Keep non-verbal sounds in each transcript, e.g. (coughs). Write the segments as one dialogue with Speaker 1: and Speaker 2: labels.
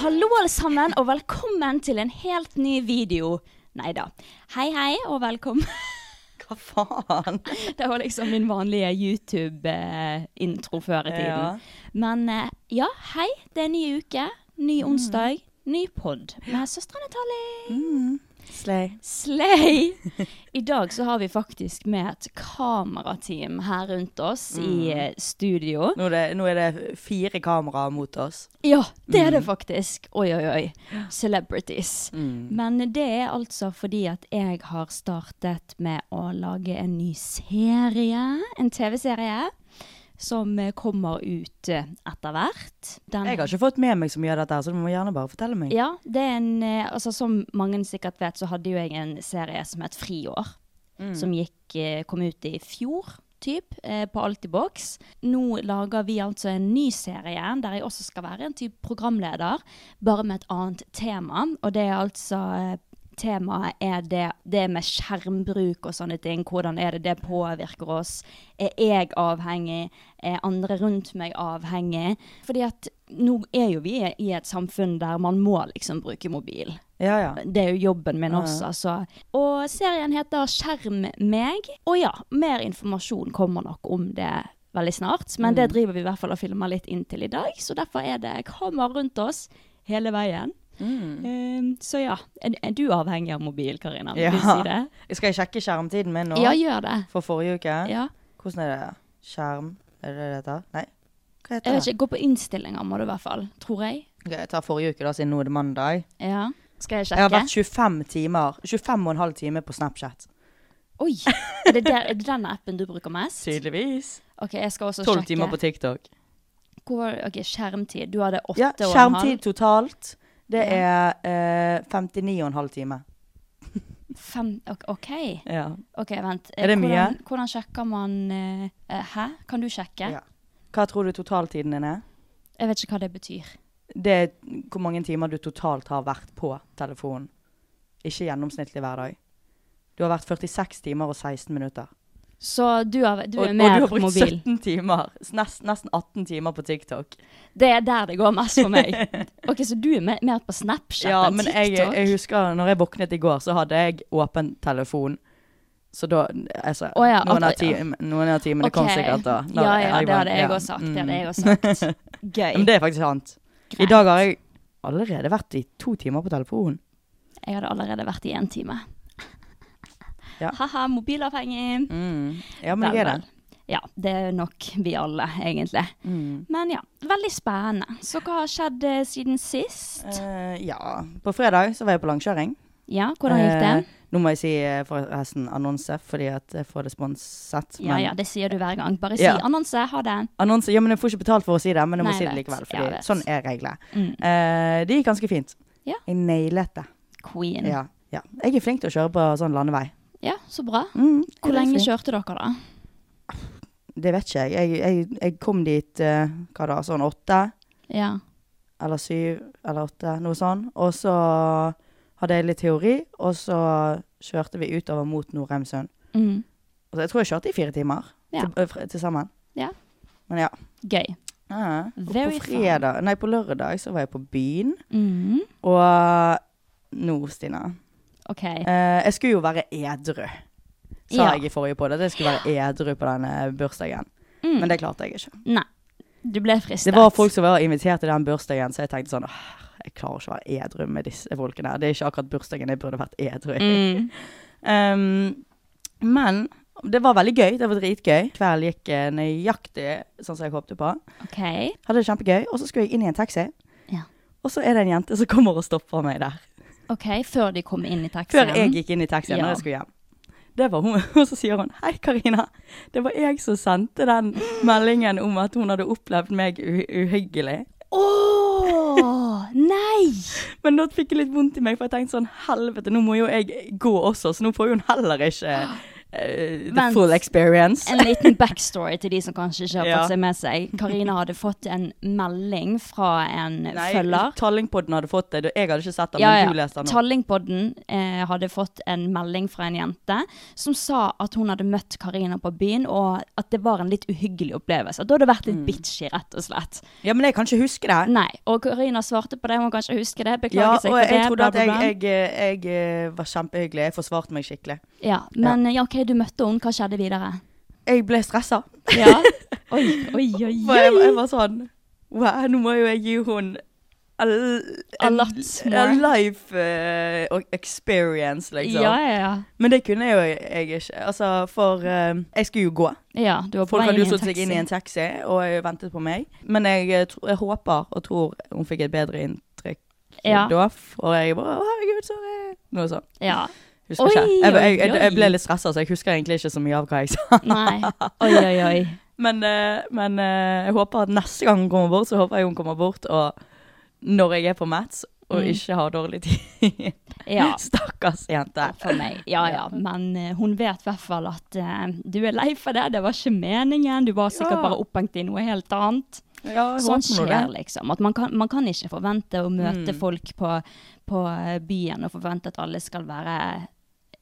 Speaker 1: Hallo alle sammen, og velkommen til en helt ny video. Nei da. Hei, hei, og velkommen.
Speaker 2: (laughs) Hva faen?
Speaker 1: (laughs) Det var liksom min vanlige YouTube-intro før i tiden.
Speaker 2: Ja.
Speaker 1: Men eh, ja, hei. Det er en ny uke, ny
Speaker 2: Mm.
Speaker 1: onsdag, ny pod med søstrene Tally.
Speaker 2: Mm. Slay. (laughs)
Speaker 1: Slay! I dag så har vi faktisk med et kamerateam her rundt oss
Speaker 2: Mm.
Speaker 1: i eh, studio.
Speaker 2: Nå er, det, nå er det fire kameraer mot oss.
Speaker 1: Ja, det er det
Speaker 2: Mm.
Speaker 1: faktisk. Oi, oi, oi. Celebrities. Men det er altså fordi at jeg har startet med å lage en ny serie. En TV-serie. Som eh, kommer ut eh, etter hvert. Den-
Speaker 2: Jeg har ikke fått med meg så mye av dette, her, så du må gjerne bare fortelle meg.
Speaker 1: Ja, det er en eh, Altså, som mange sikkert vet, så hadde jo jeg en serie som het Friår. Som gikk, eh, kom ut i fjor, typ, eh, på Altibox. Nå lager vi altså en ny serie der jeg også skal være en type programleder, bare med et annet tema. Og det er altså eh, Temaet er det, det med skjermbruk og sånne ting. Hvordan er det det påvirker oss? Er jeg avhengig? Er andre rundt meg avhengig? Fordi at nå er jo vi i et samfunn der man må liksom bruke mobil.
Speaker 2: Ja, ja.
Speaker 1: Det er jo jobben min også, så. Og serien heter Skjerm meg. Og ja, mer informasjon kommer nok om det veldig snart. Men det driver vi i hvert fall og filmer litt inntil i dag, så derfor er det kamera rundt oss hele veien. Eh, så ja, er, er du avhengig av mobil, Karina? Vil du si det?
Speaker 2: Skal jeg sjekke skjermtiden min nå?
Speaker 1: Ja, gjør det.
Speaker 2: For forrige uke?
Speaker 1: Ja.
Speaker 2: Hvordan er det? Skjerm? Er det det det heter? Nei. Hva
Speaker 1: Jeg
Speaker 2: heter
Speaker 1: vet ikke, Gå på innstillinger må du i hvert fall, tror jeg.
Speaker 2: det? Ok, jeg tar forrige uke, da, siden nå er det mandag.
Speaker 1: Ja. Skal jeg
Speaker 2: Jeg har
Speaker 1: sjekke?
Speaker 2: vært 25 timer 25 og en halv time på Snapchat.
Speaker 1: Oi! Er det, der, er det den appen du bruker mest?
Speaker 2: Tydeligvis.
Speaker 1: Ok, jeg skal også
Speaker 2: 12
Speaker 1: sjekke.
Speaker 2: timer på TikTok.
Speaker 1: Hvor var det- ok, skjermtid. Du hadde åtte
Speaker 2: Ja,
Speaker 1: og en halv.
Speaker 2: skjermtid totalt. Det er eh, 59 og en halv time.
Speaker 1: Fem, ok, ok.
Speaker 2: Ja.
Speaker 1: ok, vent.
Speaker 2: Er det
Speaker 1: Eh,
Speaker 2: mye?
Speaker 1: Hvordan, hvordan sjekker man eh, eh, Hæ? Kan du sjekke?
Speaker 2: Ja. Hva tror du totaltiden din er?
Speaker 1: Jeg vet ikke hva det betyr.
Speaker 2: Det er hvor mange timer du totalt har vært på telefonen. Ikke gjennomsnittlig hver dag. Du har vært 46 timer og 16 minutter.
Speaker 1: Så du, har, du
Speaker 2: og,
Speaker 1: er
Speaker 2: og
Speaker 1: mer
Speaker 2: du har brukt
Speaker 1: mobil.
Speaker 2: 17 timer. s- Nest, nesten 18 timer på TikTok.
Speaker 1: Det er der det går mest for
Speaker 2: (laughs)
Speaker 1: meg. Ok, Så du er mer, mer på Snapchat
Speaker 2: Ja,
Speaker 1: enn
Speaker 2: men
Speaker 1: TikTok?
Speaker 2: jeg, jeg husker når jeg våknet i går, så hadde jeg åpen telefon. Så da altså,
Speaker 1: Å ja,
Speaker 2: noen, av
Speaker 1: at-
Speaker 2: ti,
Speaker 1: ja.
Speaker 2: noen av timene kom
Speaker 1: Ok.
Speaker 2: sikkert da. når
Speaker 1: Ja, ja, det
Speaker 2: var-
Speaker 1: hadde jeg
Speaker 2: ja,
Speaker 1: også sagt. Det
Speaker 2: mm.
Speaker 1: hadde jeg også
Speaker 2: (laughs)
Speaker 1: sagt. Gøy.
Speaker 2: Men det er faktisk sant. I dag har jeg allerede vært i to timer på telefonen.
Speaker 1: Jeg hadde allerede vært i én time.
Speaker 2: Ja.
Speaker 1: (laughs) Haha, mobilavhengig. Mm.
Speaker 2: Ja, men jeg er det.
Speaker 1: Ja, det er nok vi alle, egentlig.
Speaker 2: Mm.
Speaker 1: Men ja, veldig spennende. Så hva har skjedd eh, siden sist?
Speaker 2: Eh, ja. På fredag så var jeg på langkjøring.
Speaker 1: Ja, hvordan gikk det?
Speaker 2: Eh, nå må jeg si eh, forresten annonse, fordi at jeg får det sponset.
Speaker 1: Ja ja, det sier du hver gang. Bare si
Speaker 2: Ja.
Speaker 1: annonse, ha det.
Speaker 2: Annonse, ja, men jeg får ikke betalt for å si det, men jeg
Speaker 1: Nei,
Speaker 2: må si det
Speaker 1: jeg vet.
Speaker 2: likevel.
Speaker 1: Ja, jeg
Speaker 2: Fordi
Speaker 1: vet.
Speaker 2: sånn er reglene.
Speaker 1: Mm,
Speaker 2: Eh, det gikk ganske fint.
Speaker 1: Ja. Mm.
Speaker 2: Jeg nailet det.
Speaker 1: Queen. Ja,
Speaker 2: Ja, ja. Jeg er flink til å kjøre på sånn landevei.
Speaker 1: så bra.
Speaker 2: Mm, jeg
Speaker 1: Hvor
Speaker 2: er
Speaker 1: lenge
Speaker 2: flink.
Speaker 1: kjørte dere, da?
Speaker 2: Det vet ikke jeg. Jeg, jeg, jeg kom dit eh, hva da, sånn åtte
Speaker 1: Ja.
Speaker 2: eller syv eller åtte, noe sånn. Og så hadde jeg litt teori, og så kjørte vi utover mot Norheimsund.
Speaker 1: Mm.
Speaker 2: Altså, jeg tror jeg kjørte i fire timer
Speaker 1: Ja.
Speaker 2: til, fra- til sammen.
Speaker 1: Ja.
Speaker 2: Men ja.
Speaker 1: Gøy.
Speaker 2: Ja, og
Speaker 1: Very
Speaker 2: på fredag, nei, på lørdag så var jeg på byen,
Speaker 1: Mm.
Speaker 2: og nå, Stina
Speaker 1: OK.
Speaker 2: eh, Jeg skulle jo være edru, sa
Speaker 1: Ja.
Speaker 2: jeg i forrige podkast. Jeg skulle være edru på denne bursdagen,
Speaker 1: Mm.
Speaker 2: men det klarte jeg ikke.
Speaker 1: Nei. Du ble fristet.
Speaker 2: Det var folk som var invitert til den bursdagen, så jeg tenkte sånn Åh, jeg klarer ikke å være edru med disse folkene. her. Det er ikke akkurat bursdagen jeg burde vært edru i.
Speaker 1: Mm.
Speaker 2: Um, men det var veldig gøy. Det var dritgøy. Kvelden gikk eh, nøyaktig sånn som jeg håpte på.
Speaker 1: OK.
Speaker 2: Hadde det kjempegøy. Og så skulle jeg inn i en taxi.
Speaker 1: Ja.
Speaker 2: Og så er det en jente som kommer og stopper meg der.
Speaker 1: Ok, Før de kom inn i taxien.
Speaker 2: Før jeg gikk inn i taxien
Speaker 1: Ja.
Speaker 2: når jeg skulle hjem. Det var hun, (laughs) og så sier hun 'Hei, Karina. Det var jeg som sendte den meldingen om at hun hadde opplevd meg u uhyggelig.'
Speaker 1: Åh, nei!
Speaker 2: Men da fikk jeg litt vondt i meg, for jeg tenkte sånn 'Helvete, nå må jo jeg gå også, så nå får jo hun heller ikke eh, the
Speaker 1: Vent.
Speaker 2: full experience'.
Speaker 1: (laughs) En liten backstory til de som kanskje ikke har fått
Speaker 2: Ja.
Speaker 1: seg med seg. Karina hadde fått en melding fra en
Speaker 2: (laughs) Nei,
Speaker 1: følger.
Speaker 2: Tallingpodden hadde fått det. Jeg hadde ikke sett det,
Speaker 1: Ja,
Speaker 2: men du
Speaker 1: ja.
Speaker 2: leste den. nå.
Speaker 1: Tallingpodden eh, hadde fått en melding fra en jente som sa at hun hadde møtt Karina på byen, og at det var en litt uhyggelig opplevelse. At Da hadde det vært
Speaker 2: Mm.
Speaker 1: litt bitchy, rett og slett.
Speaker 2: Ja, men jeg kan ikke huske det.
Speaker 1: Nei, og Karina svarte på det, hun kan ikke huske det.
Speaker 2: Ja,
Speaker 1: Beklager seg
Speaker 2: og
Speaker 1: for det.
Speaker 2: jeg trodde
Speaker 1: bla,
Speaker 2: at
Speaker 1: bla,
Speaker 2: jeg,
Speaker 1: bla.
Speaker 2: jeg, eh, jeg eh, var kjempehyggelig. Jeg forsvarte meg skikkelig.
Speaker 1: Ja, men ja, OK, du møtte henne. Hva skjedde videre?
Speaker 2: (laughs) Jeg ble stressa.
Speaker 1: Ja. Oi, oi, oi.
Speaker 2: For jeg,
Speaker 1: oi.
Speaker 2: jeg var sånn Wow, nå må jo jeg gi hun a, l-
Speaker 1: A
Speaker 2: en-
Speaker 1: lot more."
Speaker 2: A life eh, og experience, liksom.
Speaker 1: Ja, ja, ja.
Speaker 2: Men det kunne jeg jo jeg ikke. Altså, for eh, Jeg skulle jo gå.
Speaker 1: Ja, du var på
Speaker 2: Folk
Speaker 1: vei
Speaker 2: hadde
Speaker 1: inn i
Speaker 2: jo
Speaker 1: en
Speaker 2: satt seg inn i
Speaker 1: taxi.
Speaker 2: en taxi og eh, ventet på meg. Men jeg, eh, tro, jeg håper og tror hun fikk et bedre inntrykk
Speaker 1: Ja.
Speaker 2: da. Og jeg bare Å, herregud, sorry. Noe sånt.
Speaker 1: Ja.
Speaker 2: Husker
Speaker 1: Oi,
Speaker 2: ikke. Jeg, jeg, jeg,
Speaker 1: oi, oi.
Speaker 2: jeg ble litt stressa, så jeg husker egentlig ikke så mye av hva jeg sa. (laughs)
Speaker 1: Nei. Oi, oi, oi.
Speaker 2: Men, eh, men eh, jeg håper at neste gang hun kommer bort, så håper jeg hun kommer bort og når jeg er på Mats og ikke har dårlig tid.
Speaker 1: Mm. Ja.
Speaker 2: (laughs) Stakkars jente.
Speaker 1: For meg. Ja, ja. Men eh, hun vet i hvert fall at eh, du er lei for det, det var ikke meningen. Du var sikkert
Speaker 2: Ja.
Speaker 1: bare opphengt i noe helt annet.
Speaker 2: Ja, jeg
Speaker 1: Sånn
Speaker 2: håper nå
Speaker 1: skjer,
Speaker 2: det. Mm.
Speaker 1: liksom. At man kan, man kan ikke forvente å møte folk på, på eh, byen og forvente at alle skal være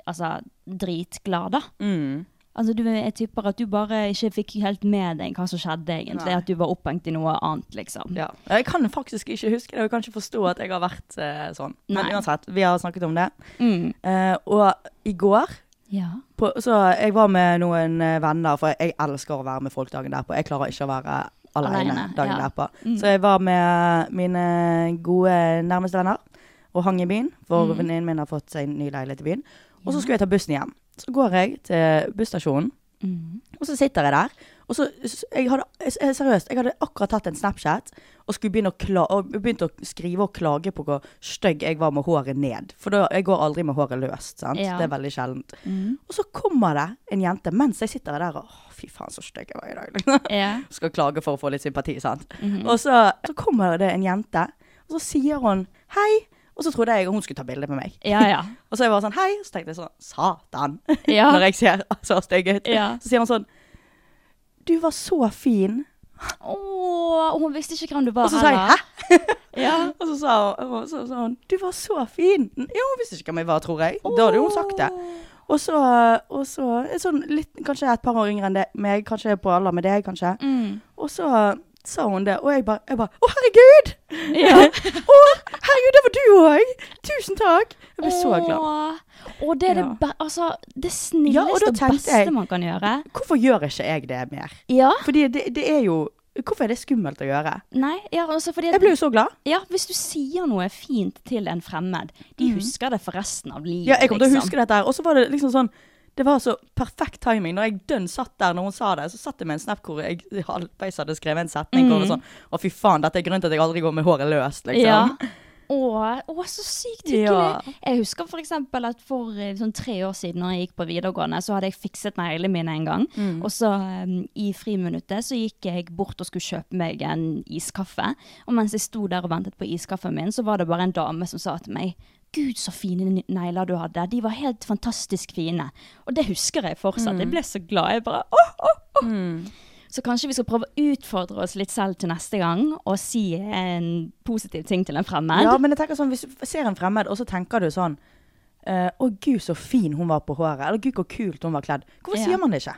Speaker 1: altså, dritglade.
Speaker 2: Mm.
Speaker 1: Altså, du er typer at du bare ikke fikk helt med deg hva som skjedde, egentlig.
Speaker 2: Nei.
Speaker 1: At du var opphengt i noe annet, liksom.
Speaker 2: Ja. Jeg kan faktisk ikke huske det, og jeg kan ikke forstå at jeg har vært eh, sånn. Men
Speaker 1: Nei.
Speaker 2: uansett, vi har snakket om det.
Speaker 1: Mm.
Speaker 2: Eh, og i går
Speaker 1: ja.
Speaker 2: på, så jeg var med noen eh, venner, for jeg elsker å være med folk dagen derpå. Jeg klarer ikke å være alene,
Speaker 1: Alene,
Speaker 2: dagen
Speaker 1: ja. Mm.
Speaker 2: derpå. Så jeg var med mine gode nærmeste venner og hang i byen, for
Speaker 1: Mm.
Speaker 2: venninnen min har fått seg en ny leilighet i byen. Og så skulle jeg ta bussen hjem. Så går jeg til busstasjonen,
Speaker 1: Mm.
Speaker 2: og så sitter jeg der. Og så, s- jeg hadde, s- eh, seriøst, jeg hadde akkurat tatt en Snapchat og skulle begynne å, kla og begynte å skrive og klage på hvor stygg jeg var med håret ned. For da, jeg går aldri med håret løst, sant?
Speaker 1: Ja. Mm.
Speaker 2: Det er veldig sjeldent. Og så kommer det en jente mens jeg sitter der og «Åh, fy faen så stygg jeg var i dag. liksom.
Speaker 1: Ja.
Speaker 2: (laughs)
Speaker 1: Mhm.
Speaker 2: Skal klage for å få litt sympati, sant. Og så, så kommer det en jente, og så sier hun hei. Og så trodde jeg hun skulle ta bilde med meg.
Speaker 1: Ja, ja.
Speaker 2: (laughs) Og så er jeg bare sånn hei, så tenkte jeg sånn satan.
Speaker 1: Ja.
Speaker 2: (laughs) Når jeg ser så stygg ut.
Speaker 1: Ja.
Speaker 2: Så sier hun sånn du var så fin.
Speaker 1: Åh, hun visste ikke hvem du var
Speaker 2: Og så sa jeg hæ?
Speaker 1: Ja.
Speaker 2: Og så sa hun, og så sa hun du var så fin. Ja, hun visste ikke hvem jeg var, tror jeg. Da hadde hun sagt det. Og så, og så en sånn litt, kanskje et par år yngre enn det, meg, kanskje på alder med deg, kanskje.
Speaker 1: Mm.
Speaker 2: Og så sa hun det, og jeg bare jeg bare, Å, herregud!
Speaker 1: Ja.
Speaker 2: Å, herregud, det var du òg! Tusen takk! Jeg ble så glad.
Speaker 1: Åh, Og det er det,
Speaker 2: Ja.
Speaker 1: be altså, det
Speaker 2: Ja, og
Speaker 1: snilleste
Speaker 2: da
Speaker 1: og
Speaker 2: tenkte
Speaker 1: beste
Speaker 2: jeg-
Speaker 1: man kan gjøre.
Speaker 2: Hvorfor gjør ikke jeg det mer?
Speaker 1: Ja.
Speaker 2: Fordi det, det er jo Hvorfor er det skummelt å gjøre?
Speaker 1: Nei, ja, altså fordi at-
Speaker 2: Jeg ble jo så glad.
Speaker 1: ja, Hvis du sier noe fint til en fremmed, de husker det for resten av livet.
Speaker 2: Mm. Ja, jeg kommer til å
Speaker 1: liksom.
Speaker 2: huske dette her. Og så var det liksom sånn Det var så perfekt timing. Når jeg dønn satt der når hun sa det, så satt jeg med en snap hvor jeg (laughs) halvveis hadde skrevet en setning. hvor
Speaker 1: Mm.
Speaker 2: det var sånn Å, fy faen, dette er grunnen til at jeg aldri går med håret løst, liksom.
Speaker 1: Ja. Åh, åh, så sykt hyggelig.
Speaker 2: Ja.
Speaker 1: Jeg husker for eksempel at for eh, sånn tre år siden når jeg gikk på videregående, så hadde jeg fikset neglene mine en gang.
Speaker 2: Mm.
Speaker 1: Og så eh, i friminuttet så gikk jeg bort og skulle kjøpe meg en iskaffe. Og mens jeg sto der og ventet på iskaffen min, så var det bare en dame som sa til meg Gud, så fine n- negler du hadde. De var helt
Speaker 2: Mm.
Speaker 1: fantastisk fine. Og det husker jeg fortsatt. Jeg ble så glad. Jeg bare åh, åh, åh. Så kanskje vi skal prøve å utfordre oss litt selv til neste gang, og si en positiv ting til en fremmed.
Speaker 2: Ja, men jeg tenker sånn, Hvis du ser en fremmed, og så tenker du sånn eh, Å, gud, så fin hun var på håret. Eller gud, hvor kult hun var kledd. Hvorfor
Speaker 1: Ja.
Speaker 2: sier man det ikke?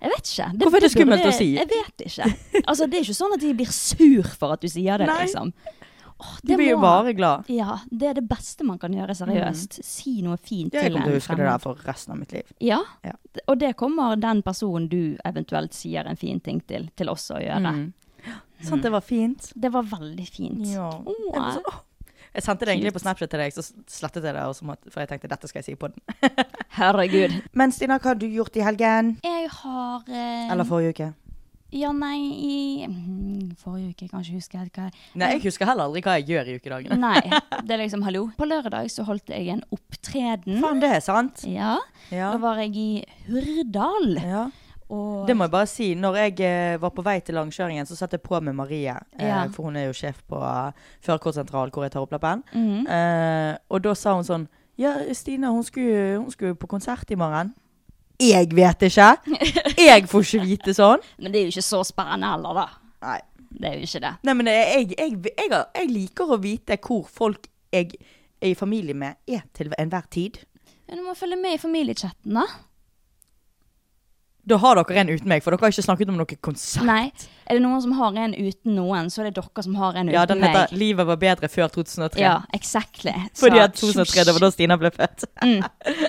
Speaker 1: Jeg vet ikke.
Speaker 2: Hvorfor er det skummelt
Speaker 1: burde-
Speaker 2: å si?
Speaker 1: Jeg vet ikke. Altså, det er ikke sånn at de blir sur for at du sier det,
Speaker 2: Nei.
Speaker 1: liksom. Åh,
Speaker 2: Du blir jo
Speaker 1: må-
Speaker 2: bare glad.
Speaker 1: Ja, det er det beste man kan gjøre, seriøst. Si noe fint
Speaker 2: Jeg
Speaker 1: til
Speaker 2: kommer til å
Speaker 1: en
Speaker 2: huske det der
Speaker 1: fremmed.
Speaker 2: for resten av mitt liv.
Speaker 1: Ja,
Speaker 2: Ja.
Speaker 1: og det kommer den personen du eventuelt sier en fin ting til, til også å gjøre.
Speaker 2: Mm. Sant, Sånn,
Speaker 1: Mm.
Speaker 2: det var fint.
Speaker 1: Det var veldig fint.
Speaker 2: Jeg, var så, åh. jeg sendte det egentlig på Snapchat til deg, så slettet jeg det, og så måtte, for jeg tenkte dette skal jeg si på den.
Speaker 1: Herregud.
Speaker 2: (laughs) Men Stina, hva har du gjort i helgen?
Speaker 1: Jeg har eh,
Speaker 2: Eller forrige uke?
Speaker 1: Ja, nei, i mm, Forrige uke, jeg kan ikke huske helt hva jeg
Speaker 2: Nei, jeg husker heller aldri hva jeg gjør i ukedagene.
Speaker 1: Nei. Det er liksom hallo. På lørdag så holdt jeg en opptreden.
Speaker 2: Mm. Faen, det er sant.
Speaker 1: Ja.
Speaker 2: Ja.
Speaker 1: Da var jeg i Hurdal.
Speaker 2: Ja.
Speaker 1: Og
Speaker 2: Det må jeg bare si. Når jeg eh, var på vei til langkjøringen, så satt jeg på med Marie. Eh,
Speaker 1: Ja.
Speaker 2: For hun er jo sjef på eh, førerkortsentral, hvor jeg tar opplappen. eh, og da sa hun sånn Ja, Stina, hun skulle, hun skulle på konsert i morgen. Jeg vet ikke! (laughs) Jeg får ikke vite sånn.
Speaker 1: Men det er jo ikke så spennende heller, da.
Speaker 2: Nei.
Speaker 1: Det er jo ikke det.
Speaker 2: Nei, men jeg, jeg, jeg, jeg, jeg liker å vite hvor folk jeg er i familie med, er til enhver tid.
Speaker 1: Men du må følge med i familiechatten, da.
Speaker 2: Da har dere en uten meg, for dere har ikke snakket om noe konsert.
Speaker 1: Nei. Er det noen som har en uten noen, så er det dere som har en uten
Speaker 2: Ja, den
Speaker 1: meg.
Speaker 2: heter 'Livet var bedre før 2003'.
Speaker 1: Ja, exactly. Så-
Speaker 2: Fordi at 2003, det var da Stina ble født.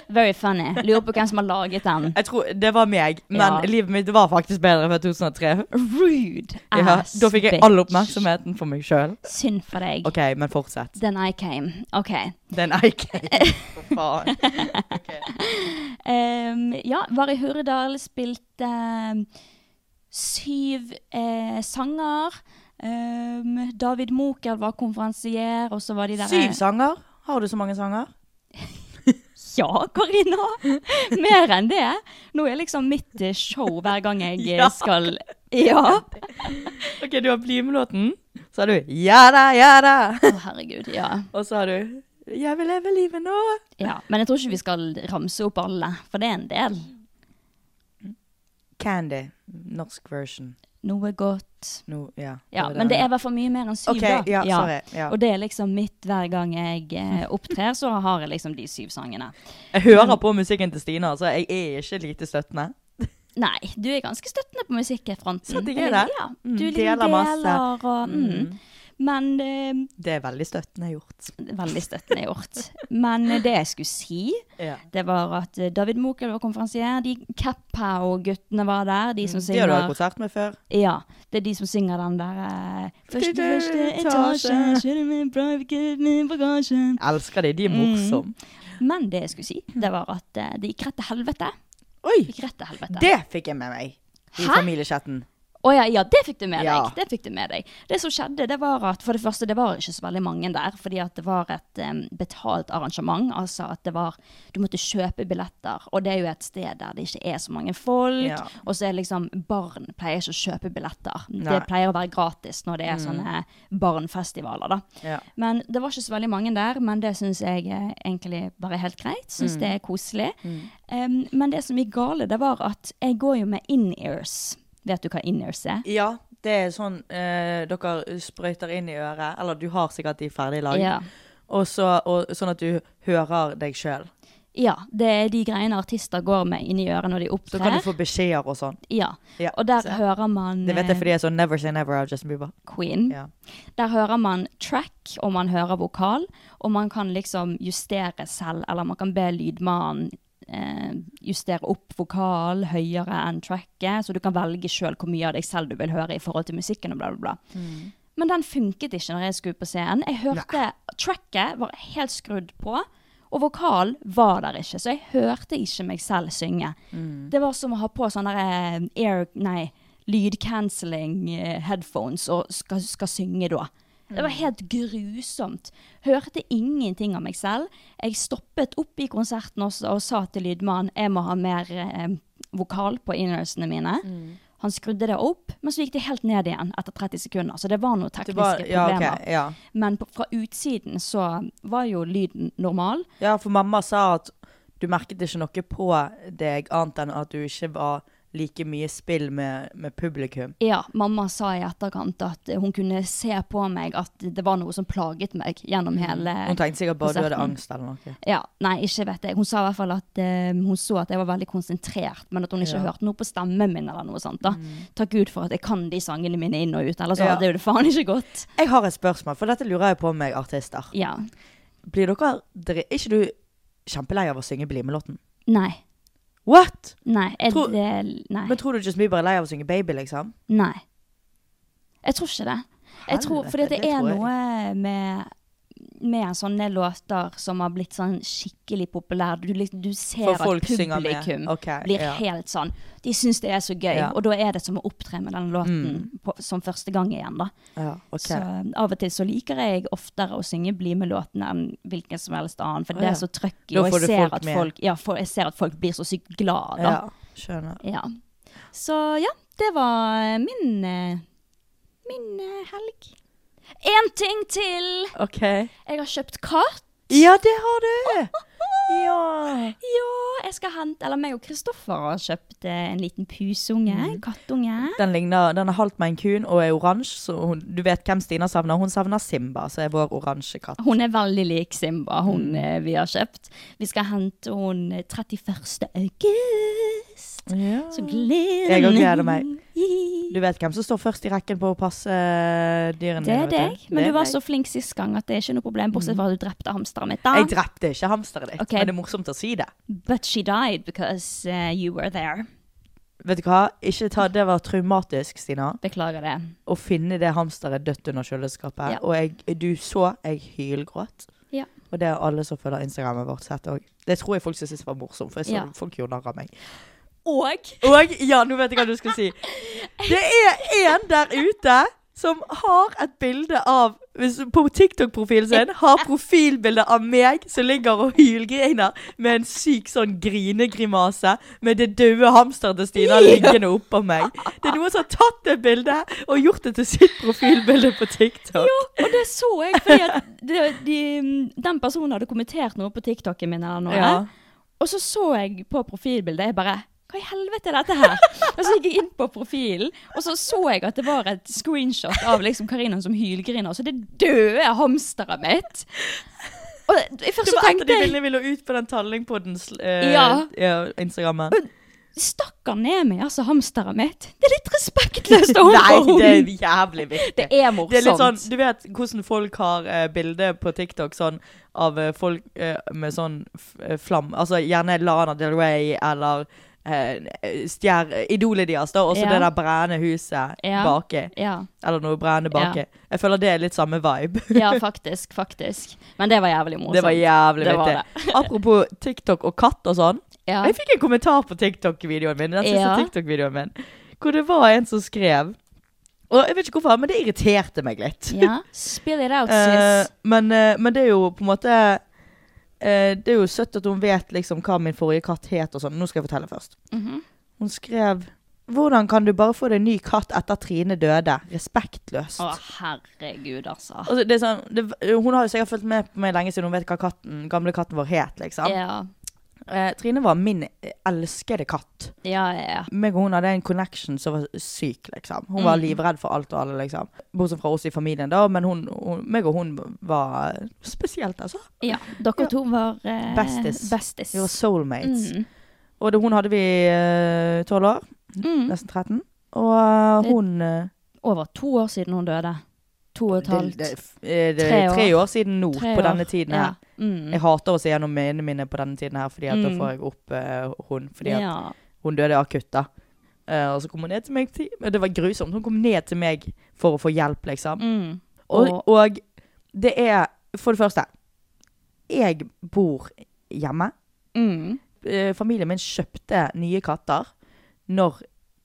Speaker 1: Very funny. Lurer på hvem som har laget
Speaker 2: (laughs)
Speaker 1: den.
Speaker 2: Jeg tror Det var meg, men
Speaker 1: Ja.
Speaker 2: livet mitt var faktisk bedre før 2003.
Speaker 1: Rude
Speaker 2: Ja,
Speaker 1: ass
Speaker 2: da fikk jeg
Speaker 1: Ah, bitch.
Speaker 2: all oppmerksomheten for meg sjøl.
Speaker 1: Synd for deg.
Speaker 2: OK, men fortsett.
Speaker 1: Then I came. OK.
Speaker 2: Den er
Speaker 1: (laughs)
Speaker 2: ikke For faen.
Speaker 1: Ehm, ja, var i Hurdal, spilte ehm, syv eh, sanger. Ehm, David Mokel var konferansier, og så var de der
Speaker 2: Syv sanger? Har du så mange sanger?
Speaker 1: Ja, Karina! Mer enn det. Nå er liksom mitt eh, show hver gang jeg eh,
Speaker 2: (laughs) Ja.
Speaker 1: skal Ja.
Speaker 2: OK, du har BlimE-låten. Så har du 'Ja da, ja da'.
Speaker 1: Å, herregud. Ja.
Speaker 2: Og så har du 'Jeg vil leve livet nå'.
Speaker 1: ja. Men jeg tror ikke vi skal ramse opp alle, for det er en del.
Speaker 2: Candy. Norsk version.
Speaker 1: Noe godt.
Speaker 2: Nå, ja.
Speaker 1: Ja, men det er i hvert fall mye mer enn syv,
Speaker 2: OK,
Speaker 1: da.
Speaker 2: ja, sorry. Ja.
Speaker 1: Og det er liksom mitt hver gang jeg eh, opptrer, så har jeg liksom de syv sangene.
Speaker 2: Jeg hører på musikken til Stina, så jeg er ikke lite støttende.
Speaker 1: Nei, du er ganske støttende på musikkfronten.
Speaker 2: Sant, jeg er det.
Speaker 1: Ja,
Speaker 2: Mm,
Speaker 1: du
Speaker 2: deler
Speaker 1: deler, deler
Speaker 2: masse.
Speaker 1: og mm. Men eh,
Speaker 2: Det er veldig støttende gjort.
Speaker 1: Veldig støttende gjort. Men eh, det jeg skulle si,
Speaker 2: Ja.
Speaker 1: det var at eh, David Mokel var konferansier. De Kapphaug-guttene var der. De som
Speaker 2: De Mm, har du hatt
Speaker 1: synger
Speaker 2: konsert med før.
Speaker 1: Ja, det er de som synger den der eh, Første,
Speaker 2: Første
Speaker 1: første
Speaker 2: etasje.
Speaker 1: etasje, kjører min private min bagasje.
Speaker 2: Elsker de, de
Speaker 1: Mm.
Speaker 2: er morsomme.
Speaker 1: Men det jeg skulle si, det var at eh, det gikk rett til helvete.
Speaker 2: Oi!
Speaker 1: Gikk rett til helvete.
Speaker 2: Det fikk jeg med meg i
Speaker 1: Hæ?
Speaker 2: familiechatten.
Speaker 1: Å ja, ja, det fikk du med
Speaker 2: Ja.
Speaker 1: deg. Det fikk du med deg. Det som skjedde, det var at for det første, det var ikke så veldig mange der, fordi at det var et em, betalt arrangement. Altså at det var Du måtte kjøpe billetter, og det er jo et sted der det ikke er så mange folk.
Speaker 2: Ja.
Speaker 1: Og så er liksom Barn pleier ikke å kjøpe billetter.
Speaker 2: Nei. Mm.
Speaker 1: Det pleier å være gratis når det er sånne barnfestivaler, da.
Speaker 2: Ja.
Speaker 1: Men det var ikke så veldig mange der, men det syns jeg eh, egentlig bare er helt greit.
Speaker 2: Mm.
Speaker 1: Syns det er koselig. Em, men det som gikk gale, det var at jeg går jo med in-ears. Vet du hva in-ears er?
Speaker 2: Ja, det er sånn eh, dere sprøyter inn i øret, eller du har sikkert de ferdig lagd,
Speaker 1: Ja.
Speaker 2: og så, og, sånn at du hører deg sjøl.
Speaker 1: ja. Det er de greiene artister går med inni øret når de
Speaker 2: Så kan
Speaker 1: opptrer.
Speaker 2: du få beskjeder og sånn.
Speaker 1: Ja.
Speaker 2: Ja,
Speaker 1: Og der
Speaker 2: så-
Speaker 1: hører man
Speaker 2: Det vet jeg
Speaker 1: eh,
Speaker 2: fordi jeg så Never Say Never av Justin Bieber.
Speaker 1: Queen.
Speaker 2: Ja.
Speaker 1: Der hører man track, og man hører vokal, og man kan liksom justere selv, eller man kan be lydmannen eh, justere opp vokal høyere enn tracket, så du kan velge sjøl hvor mye av deg selv du vil høre i forhold til musikken og bla, bla, bla. Men den funket ikke når jeg skulle på scenen. Jeg hørte Tracket var helt skrudd på, og vokalen var der ikke, så jeg hørte ikke meg selv synge. Det var som å ha på sånne der, eh, air... Nei. Lydcancelling eh, headphones og skal, skal synge da. Det var helt grusomt. Hørte ingenting av meg selv. Jeg stoppet opp i konserten også og sa til lydmannen jeg må ha mer eh, vokal på innersene mine. Han skrudde det opp, men så gikk det helt ned igjen etter 30 sekunder. Så det var noen
Speaker 2: Det
Speaker 1: tekniske
Speaker 2: var, ja, ok,
Speaker 1: problemer.
Speaker 2: ja.
Speaker 1: Men på, fra utsiden så var jo lyden normal.
Speaker 2: ja, for mamma sa at du merket ikke noe på deg annet enn at du ikke var like mye spill med, med publikum.
Speaker 1: Ja, mamma sa i etterkant at hun kunne se på meg at det var noe som plaget meg gjennom hele
Speaker 2: Mm. Hun tenkte sikkert bare du hadde
Speaker 1: konserten.
Speaker 2: angst eller noe.
Speaker 1: Ja, nei, ikke vet jeg. Hun sa i hvert fall at eh, hun så at jeg var veldig konsentrert, men at hun ikke
Speaker 2: Ja. Mm.
Speaker 1: hørte noe på stemmen min eller noe sånt. da. Takk Gud for at jeg kan de sangene mine inn og ut, ellers
Speaker 2: Ja.
Speaker 1: hadde jo det faen ikke gått.
Speaker 2: Jeg har et spørsmål, for dette lurer jeg på om jeg er artister.
Speaker 1: Ja.
Speaker 2: Blir dere, dere Er ikke du kjempelei av å synge Bli med-låten?
Speaker 1: Nei.
Speaker 2: What?!
Speaker 1: Nei. Er
Speaker 2: Tror-
Speaker 1: det Nei.
Speaker 2: Men tror du Justin Bieber er lei av å synge Baby, liksom?
Speaker 1: Nei. Jeg tror ikke det. Jeg tror,
Speaker 2: Helvete,
Speaker 1: fordi det,
Speaker 2: det
Speaker 1: er
Speaker 2: tror jeg.
Speaker 1: noe med med sånne låter som har blitt sånn skikkelig populære. Du, liksom- du ser
Speaker 2: For
Speaker 1: at
Speaker 2: folk synger med.
Speaker 1: publikum
Speaker 2: Ok,
Speaker 1: blir
Speaker 2: ja.
Speaker 1: helt sånn De syns det er så gøy,
Speaker 2: Ja.
Speaker 1: og da er det som å opptre med den låten på, som første gang igjen, da.
Speaker 2: Ja, ok.
Speaker 1: Så av og til så liker jeg oftere å synge Bli med-låten enn hvilken som helst annen, for
Speaker 2: Å,
Speaker 1: det
Speaker 2: ja.
Speaker 1: er så trøkk i,
Speaker 2: Da
Speaker 1: og
Speaker 2: får
Speaker 1: jeg
Speaker 2: du
Speaker 1: ser,
Speaker 2: folk
Speaker 1: at
Speaker 2: med.
Speaker 1: folk, ja, for jeg ser at folk blir så sykt glad, da.
Speaker 2: ja, skjønner.
Speaker 1: Ja. Så ja, det var eh, min eh, min eh, helg. Én ting til!
Speaker 2: OK.
Speaker 1: Jeg har kjøpt kart.
Speaker 2: Ja, det har
Speaker 1: (laughs)
Speaker 2: du! Ja.
Speaker 1: Ja, jeg skal hente Eller meg og Kristoffer har kjøpt eh, en liten pusunge. en Kattunge.
Speaker 2: Den, ligner, den er halvt med en kun og er oransje, så hun, du vet hvem Stina savner. Hun savner Simba, som er vår oransje katt.
Speaker 1: Hun er veldig lik Simba, hun eh, vi har kjøpt. Vi skal hente henne 31. august.
Speaker 2: Ja.
Speaker 1: Så gleder
Speaker 2: Jeg også gleder meg.
Speaker 1: meg.
Speaker 2: Du vet hvem som står først i rekken på å passe eh, dyrene
Speaker 1: Det er Mm.
Speaker 2: dine, vet
Speaker 1: deg. Men
Speaker 2: Det
Speaker 1: du var
Speaker 2: er
Speaker 1: så flink sist gang at det er ikke noe problem, bortsett fra at du drepte hamsteret mitt. da.
Speaker 2: Jeg drepte ikke hamsteret ditt,
Speaker 1: Ok.
Speaker 2: men det er morsomt å si det.
Speaker 1: But she died because eh, you were there.
Speaker 2: Vet du hva? Ikke ta, det var traumatisk, Stina,
Speaker 1: Beklager det.
Speaker 2: å finne det hamsteret dødt under kjøleskapet.
Speaker 1: Ja.
Speaker 2: Og jeg, du så jeg hylgråt.
Speaker 1: Ja.
Speaker 2: Og det har alle som følger Instagrammet vårt sett òg. Det tror jeg folk syntes var morsomt, for jeg så
Speaker 1: Ja.
Speaker 2: folk gjorde narr av meg.
Speaker 1: Og
Speaker 2: Og ja, nå vet jeg hva du skal si. Det er en der ute som har et bilde av hvis- På TikTok-profilen sin har profilbilde av meg som ligger og hylgriner med en syk sånn grinegrimase med det døde hamsteret til Stina liggende oppå meg. Det er noen som har tatt det bildet og gjort det til sitt profilbilde på TikTok.
Speaker 1: Ja, og det så jeg, fordi at (laughs) de, de, den personen hadde kommentert noe på TikToken min eller noe.
Speaker 2: Ja.
Speaker 1: Og så så jeg på profilbildet, jeg bare hva i helvete er dette
Speaker 2: (laughs)
Speaker 1: her? Og så gikk jeg inn på profilen, og så så jeg at det var et screenshot av liksom Karina som hylgriner. Så det døde hamsteret mitt. Og først
Speaker 2: Det
Speaker 1: så
Speaker 2: var et av de
Speaker 1: tenkte jeg
Speaker 2: bildene vi lå ut på den tallingpodden eh,
Speaker 1: Ja.
Speaker 2: ja, Instagrammen.
Speaker 1: Stakkar ned meg, altså, hamsteret mitt. Det er litt respektløst overfor
Speaker 2: (laughs) Nei, det er
Speaker 1: henne.
Speaker 2: jævlig viktig.
Speaker 1: Det er morsomt.
Speaker 2: Det er litt sånn, du vet hvordan folk har eh, bilder på TikTok sånn, av eh, folk eh, med sånn f eh, flam Altså gjerne Lana Del Rey eller eh, stjer, idolet deres, da, og så
Speaker 1: Ja.
Speaker 2: det der brennende huset
Speaker 1: Ja.
Speaker 2: baki.
Speaker 1: Ja.
Speaker 2: Eller noe brennende baki. Jeg føler det er litt samme vibe.
Speaker 1: Ja, faktisk. faktisk. Men (laughs) det var jævlig morsomt.
Speaker 2: Det var jævlig
Speaker 1: Det (laughs) var
Speaker 2: vittig. Apropos TikTok og katt og sånn.
Speaker 1: Ja.
Speaker 2: Jeg fikk en kommentar på TikTok-videoen min. Den siste
Speaker 1: Ja.
Speaker 2: TikTok-videoen min. Hvor det var en som skrev Og jeg vet ikke hvorfor, men det irriterte meg litt.
Speaker 1: ja. Spill it out,
Speaker 2: Eh,
Speaker 1: sis.
Speaker 2: men, eh, men det er jo på en måte eh, Det er jo søtt at hun vet liksom hva min forrige katt het og sånn. Nå skal jeg fortelle først. Hun skrev hvordan kan du bare få deg ny katt etter Trine døde? Respektløst.
Speaker 1: Å, herregud, altså.
Speaker 2: Altså, det er sånn, det, hun har jo sikkert fulgt med på meg lenge siden hun vet hva katten, gamle katten vår het. liksom.
Speaker 1: Ja,
Speaker 2: Eh, Trine var min elskede katt.
Speaker 1: ja, ja.
Speaker 2: meg og hun hadde en connection som var syk, liksom. Hun var livredd for alt og alle, liksom. Bortsett fra oss i familien, da, men hun, hun, meg og hun var spesielt, altså.
Speaker 1: ja. Dere to var eh,
Speaker 2: Bestis.
Speaker 1: bestis.
Speaker 2: Vi var soulmates.
Speaker 1: Mm.
Speaker 2: Og det, hun hadde vi eh, tolv år,
Speaker 1: Mm.
Speaker 2: nesten 13. Og eh,
Speaker 1: Det-
Speaker 2: hun eh,
Speaker 1: Over to år siden hun døde. To og et halvt.
Speaker 2: det, det, eh, det,
Speaker 1: Tre
Speaker 2: tre,
Speaker 1: år.
Speaker 2: år. siden nå,
Speaker 1: Tre
Speaker 2: på
Speaker 1: år.
Speaker 2: denne tiden
Speaker 1: ja.
Speaker 2: her.
Speaker 1: Mm.
Speaker 2: Jeg hater å se gjennom minnene mine på denne tiden her, Fordi at da
Speaker 1: Mm.
Speaker 2: får jeg opp eh, hun. Fordi at
Speaker 1: ja.
Speaker 2: Hun døde akutt, da. Eh, og så kom hun ned til meg til, men Det var grusomt. Hun kom ned til meg for å få hjelp, liksom.
Speaker 1: Mm.
Speaker 2: Og,
Speaker 1: Og-
Speaker 2: og det er For det første, jeg bor hjemme.
Speaker 1: Mm.
Speaker 2: Eh, Familien min kjøpte nye katter når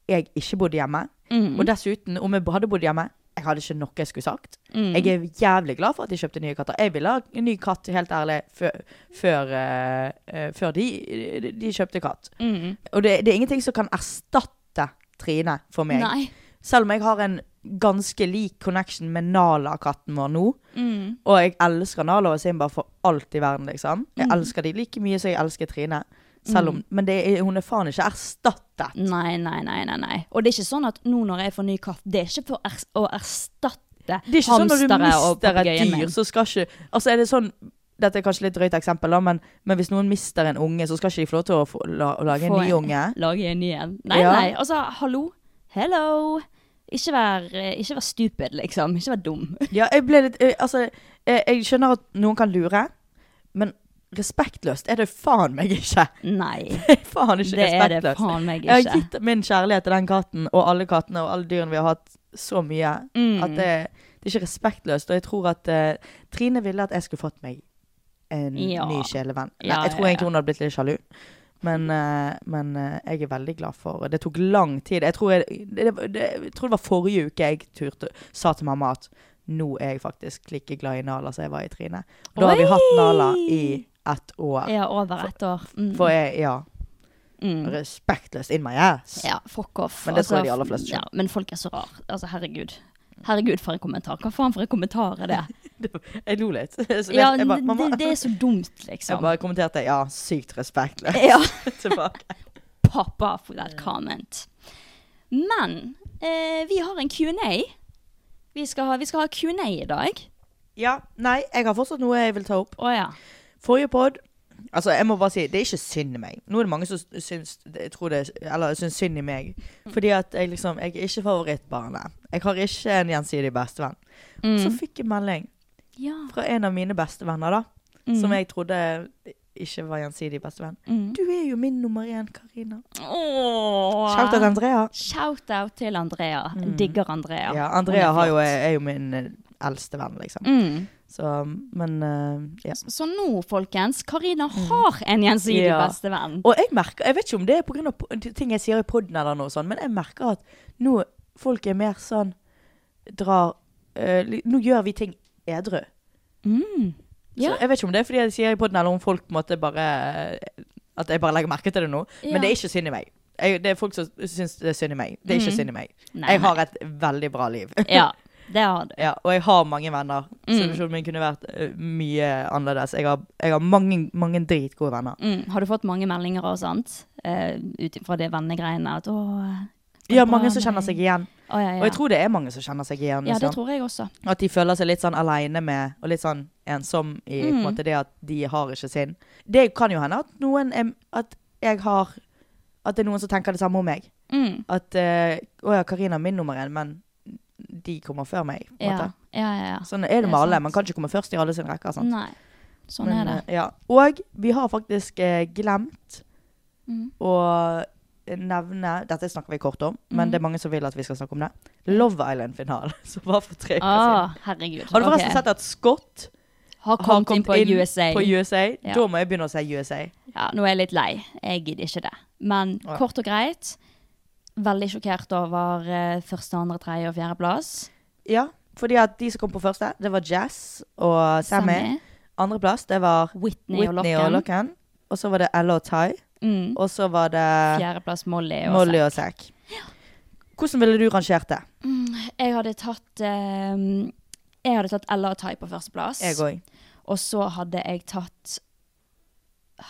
Speaker 2: jeg ikke bodde hjemme.
Speaker 1: Mm.
Speaker 2: Og dessuten, om jeg hadde bodd hjemme Jeg hadde ikke noe jeg skulle sagt.
Speaker 1: Mm.
Speaker 2: Jeg er jævlig glad for at de kjøpte nye katter. Jeg ville ha en ny katt, helt ærlig, før, før, eh, eh, før de, de kjøpte katt.
Speaker 1: Mm.
Speaker 2: Og det, det er ingenting som kan erstatte Trine for meg.
Speaker 1: Nei.
Speaker 2: Selv om jeg har en ganske lik connection med Nala-katten vår nå.
Speaker 1: Mm. Mm.
Speaker 2: Og jeg elsker Nala og Simba for alt i verden, liksom. Jeg elsker de like mye som jeg elsker Trine. Selv om, Men det er, hun er faen ikke erstattet.
Speaker 1: Nei, nei, nei, nei, nei. Og det er ikke sånn at nå når jeg får ny katt, det er ikke for ers å erstatte
Speaker 2: Det er ikke sånn når du
Speaker 1: hamstere og
Speaker 2: mister et
Speaker 1: papegøyen
Speaker 2: dyr,
Speaker 1: min.
Speaker 2: så skal ikke Altså er det sånn Dette er kanskje litt drøyt eksempel, da, men, men hvis noen mister en unge, så skal ikke de få lov til å få, la, å lage en
Speaker 1: Få
Speaker 2: ny
Speaker 1: en-
Speaker 2: unge?
Speaker 1: Lage en ny en. Nei,
Speaker 2: Ja.
Speaker 1: nei. Altså, hallo. Hello. Ikke vær, ikke vær stupid, liksom. Ikke vær dum. (laughs)
Speaker 2: Ja, jeg ble litt eh, Altså, jeg, jeg skjønner at noen kan lure, men respektløst er det faen meg ikke. (laughs)
Speaker 1: Nei.
Speaker 2: Det er faen ikke
Speaker 1: Det er det
Speaker 2: respektløst.
Speaker 1: faen meg
Speaker 2: Jeg har
Speaker 1: ikke.
Speaker 2: gitt min kjærlighet til den katten og alle kattene og alle dyrene vi har hatt, så mye
Speaker 1: Mm.
Speaker 2: at det, det er ikke respektløst. Og jeg tror at eh, Trine ville at jeg skulle fått meg en
Speaker 1: Ja.
Speaker 2: ny kjælevenn. Nei,
Speaker 1: Ja,
Speaker 2: jeg tror
Speaker 1: ja, ja.
Speaker 2: egentlig hun hadde blitt litt sjalu. Men, eh, men eh, jeg er veldig glad for Det tok lang tid. Jeg tror, jeg, det, det, jeg tror det var forrige uke jeg turte, sa til mamma at nå er jeg faktisk like glad i Nala som jeg var i Trine. Og da har vi hatt Nala i ett år.
Speaker 1: Ja, over ett år. Mm.
Speaker 2: For jeg, ja,
Speaker 1: Mm.
Speaker 2: respektløst in my ass.
Speaker 1: Ja, fuck off. Altså,
Speaker 2: Men det tror jeg de aller fleste
Speaker 1: Ja,
Speaker 2: skjønner.
Speaker 1: men folk er så rar. Altså, herregud. Herregud, for en kommentar. Hva faen for en kommentar er
Speaker 2: (laughs)
Speaker 1: det?
Speaker 2: Jeg lo litt. (laughs) Så
Speaker 1: Ja,
Speaker 2: jeg, bare, mamma,
Speaker 1: det, det er så dumt, liksom.
Speaker 2: (laughs) jeg bare kommenterte ja, sykt (laughs) respektløst
Speaker 1: Ja,
Speaker 2: tilbake.
Speaker 1: pop off with that comment. Men eh, vi har en Q&A. Vi skal ha, vi skal ha Q&A i dag.
Speaker 2: Ja, nei, jeg har fortsatt noe jeg vil ta opp.
Speaker 1: Å ja.
Speaker 2: Forrige pod Altså, jeg må bare si, det er ikke synd i meg. Nå er det mange som syns, jeg tror det, eller, syns synd i meg.
Speaker 1: Mm.
Speaker 2: Fordi at jeg liksom Jeg er ikke favorittbarnet. Jeg har ikke en gjensidig bestevenn.
Speaker 1: Mm.
Speaker 2: Så fikk jeg melding
Speaker 1: ja.
Speaker 2: fra en av mine bestevenner, da.
Speaker 1: Mm.
Speaker 2: Som jeg trodde ikke var gjensidig bestevenn. Du er jo min nummer én, Karina.
Speaker 1: Åh.
Speaker 2: Shout out Andrea.
Speaker 1: Shout out til Andrea. Digger Andrea.
Speaker 2: Ja,
Speaker 1: Hun
Speaker 2: Andrea
Speaker 1: er
Speaker 2: har jo,
Speaker 1: flott.
Speaker 2: er jo min eh, eldste venn, liksom.
Speaker 1: Mm.
Speaker 2: Så, men eh, ja.
Speaker 1: Så nå, folkens, Karina har en gjensidig
Speaker 2: Ja.
Speaker 1: bestevenn.
Speaker 2: Og jeg merker, jeg vet ikke om det er pga. ting jeg sier i poden eller noe sånt, men jeg merker at nå folk er mer sånn drar eh, li- Nå gjør vi ting edru.
Speaker 1: Mm. Ja.
Speaker 2: Så jeg vet ikke om det er fordi jeg sier i poden, eller om folk på en måte bare eh, At jeg bare legger merke til det nå.
Speaker 1: Ja.
Speaker 2: Men det er ikke synd i meg. Jeg, det er folk som syns det er synd i meg. Det er ikke synd i meg.
Speaker 1: Mm. Nei,
Speaker 2: jeg har et veldig bra liv.
Speaker 1: Ja, det har du.
Speaker 2: Ja, og jeg har mange venner.
Speaker 1: Mm.
Speaker 2: Situasjonen min kunne vært eh, mye annerledes. Jeg har, jeg har mange, mange dritgode venner.
Speaker 1: Mm. Har du fått mange meldinger og sånt? Uh, Ut fra det vennegreiene? At, åh,
Speaker 2: Ja,
Speaker 1: bra
Speaker 2: mange
Speaker 1: med
Speaker 2: som kjenner seg
Speaker 1: deg.
Speaker 2: igjen.
Speaker 1: å, ja, ja.
Speaker 2: Og jeg tror det er mange som kjenner seg igjen.
Speaker 1: ja, det
Speaker 2: liksom.
Speaker 1: tror jeg også.
Speaker 2: At de føler seg litt sånn aleine med, og litt sånn ensom i
Speaker 1: Mm.
Speaker 2: på en måte det at de har ikke sin. Det kan jo hende at noen er, At jeg har At det er noen som tenker det samme om meg.
Speaker 1: Mm.
Speaker 2: At eh, Å ja, Karina er min nummer én, men de kommer før meg. På en
Speaker 1: Ja,
Speaker 2: måte.
Speaker 1: ja, ja. ja.
Speaker 2: Sånn er det
Speaker 1: Det er
Speaker 2: med alle.
Speaker 1: sant.
Speaker 2: Man kan ikke komme først i alle sine rekker. sant?
Speaker 1: Nei, sånn
Speaker 2: Men,
Speaker 1: er det.
Speaker 2: eh, Ja. Og vi har faktisk eh, glemt
Speaker 1: Mm.
Speaker 2: å nevne Dette snakker vi kort om,
Speaker 1: Mm.
Speaker 2: men det er mange som vil at vi skal snakke om det. Love Island-finalen, (laughs) som var for tre uker
Speaker 1: Å,
Speaker 2: siden.
Speaker 1: herregud.
Speaker 2: eh, Har du
Speaker 1: Ah, Ok.
Speaker 2: forresten sett at Scott
Speaker 1: Har
Speaker 2: har
Speaker 1: kommet inn
Speaker 2: kommet
Speaker 1: på USA.
Speaker 2: på USA?
Speaker 1: Ja.
Speaker 2: Da må jeg begynne å si USA.
Speaker 1: Ja, nå er jeg litt lei. Jeg gidder ikke det. Men kort og greit, veldig sjokkert over eh, første, andre, tredje og fjerde plass.
Speaker 2: Ja, fordi at de som kom på første, det var Jazz og Sammy.
Speaker 1: Sammy.
Speaker 2: Andreplass, det var
Speaker 1: Whitney, og
Speaker 2: Whitney og
Speaker 1: Locken.
Speaker 2: Locken. Og så var det Elle og Ty.
Speaker 1: Mm.
Speaker 2: Og så var det
Speaker 1: Fjerdeplass Molly. Og
Speaker 2: Molly og Zack. Hvordan ville du rangert det?
Speaker 1: Jeg hadde tatt eh, Jeg hadde tatt Ella og Tai på førsteplass.
Speaker 2: Jeg òg.
Speaker 1: Og så hadde jeg tatt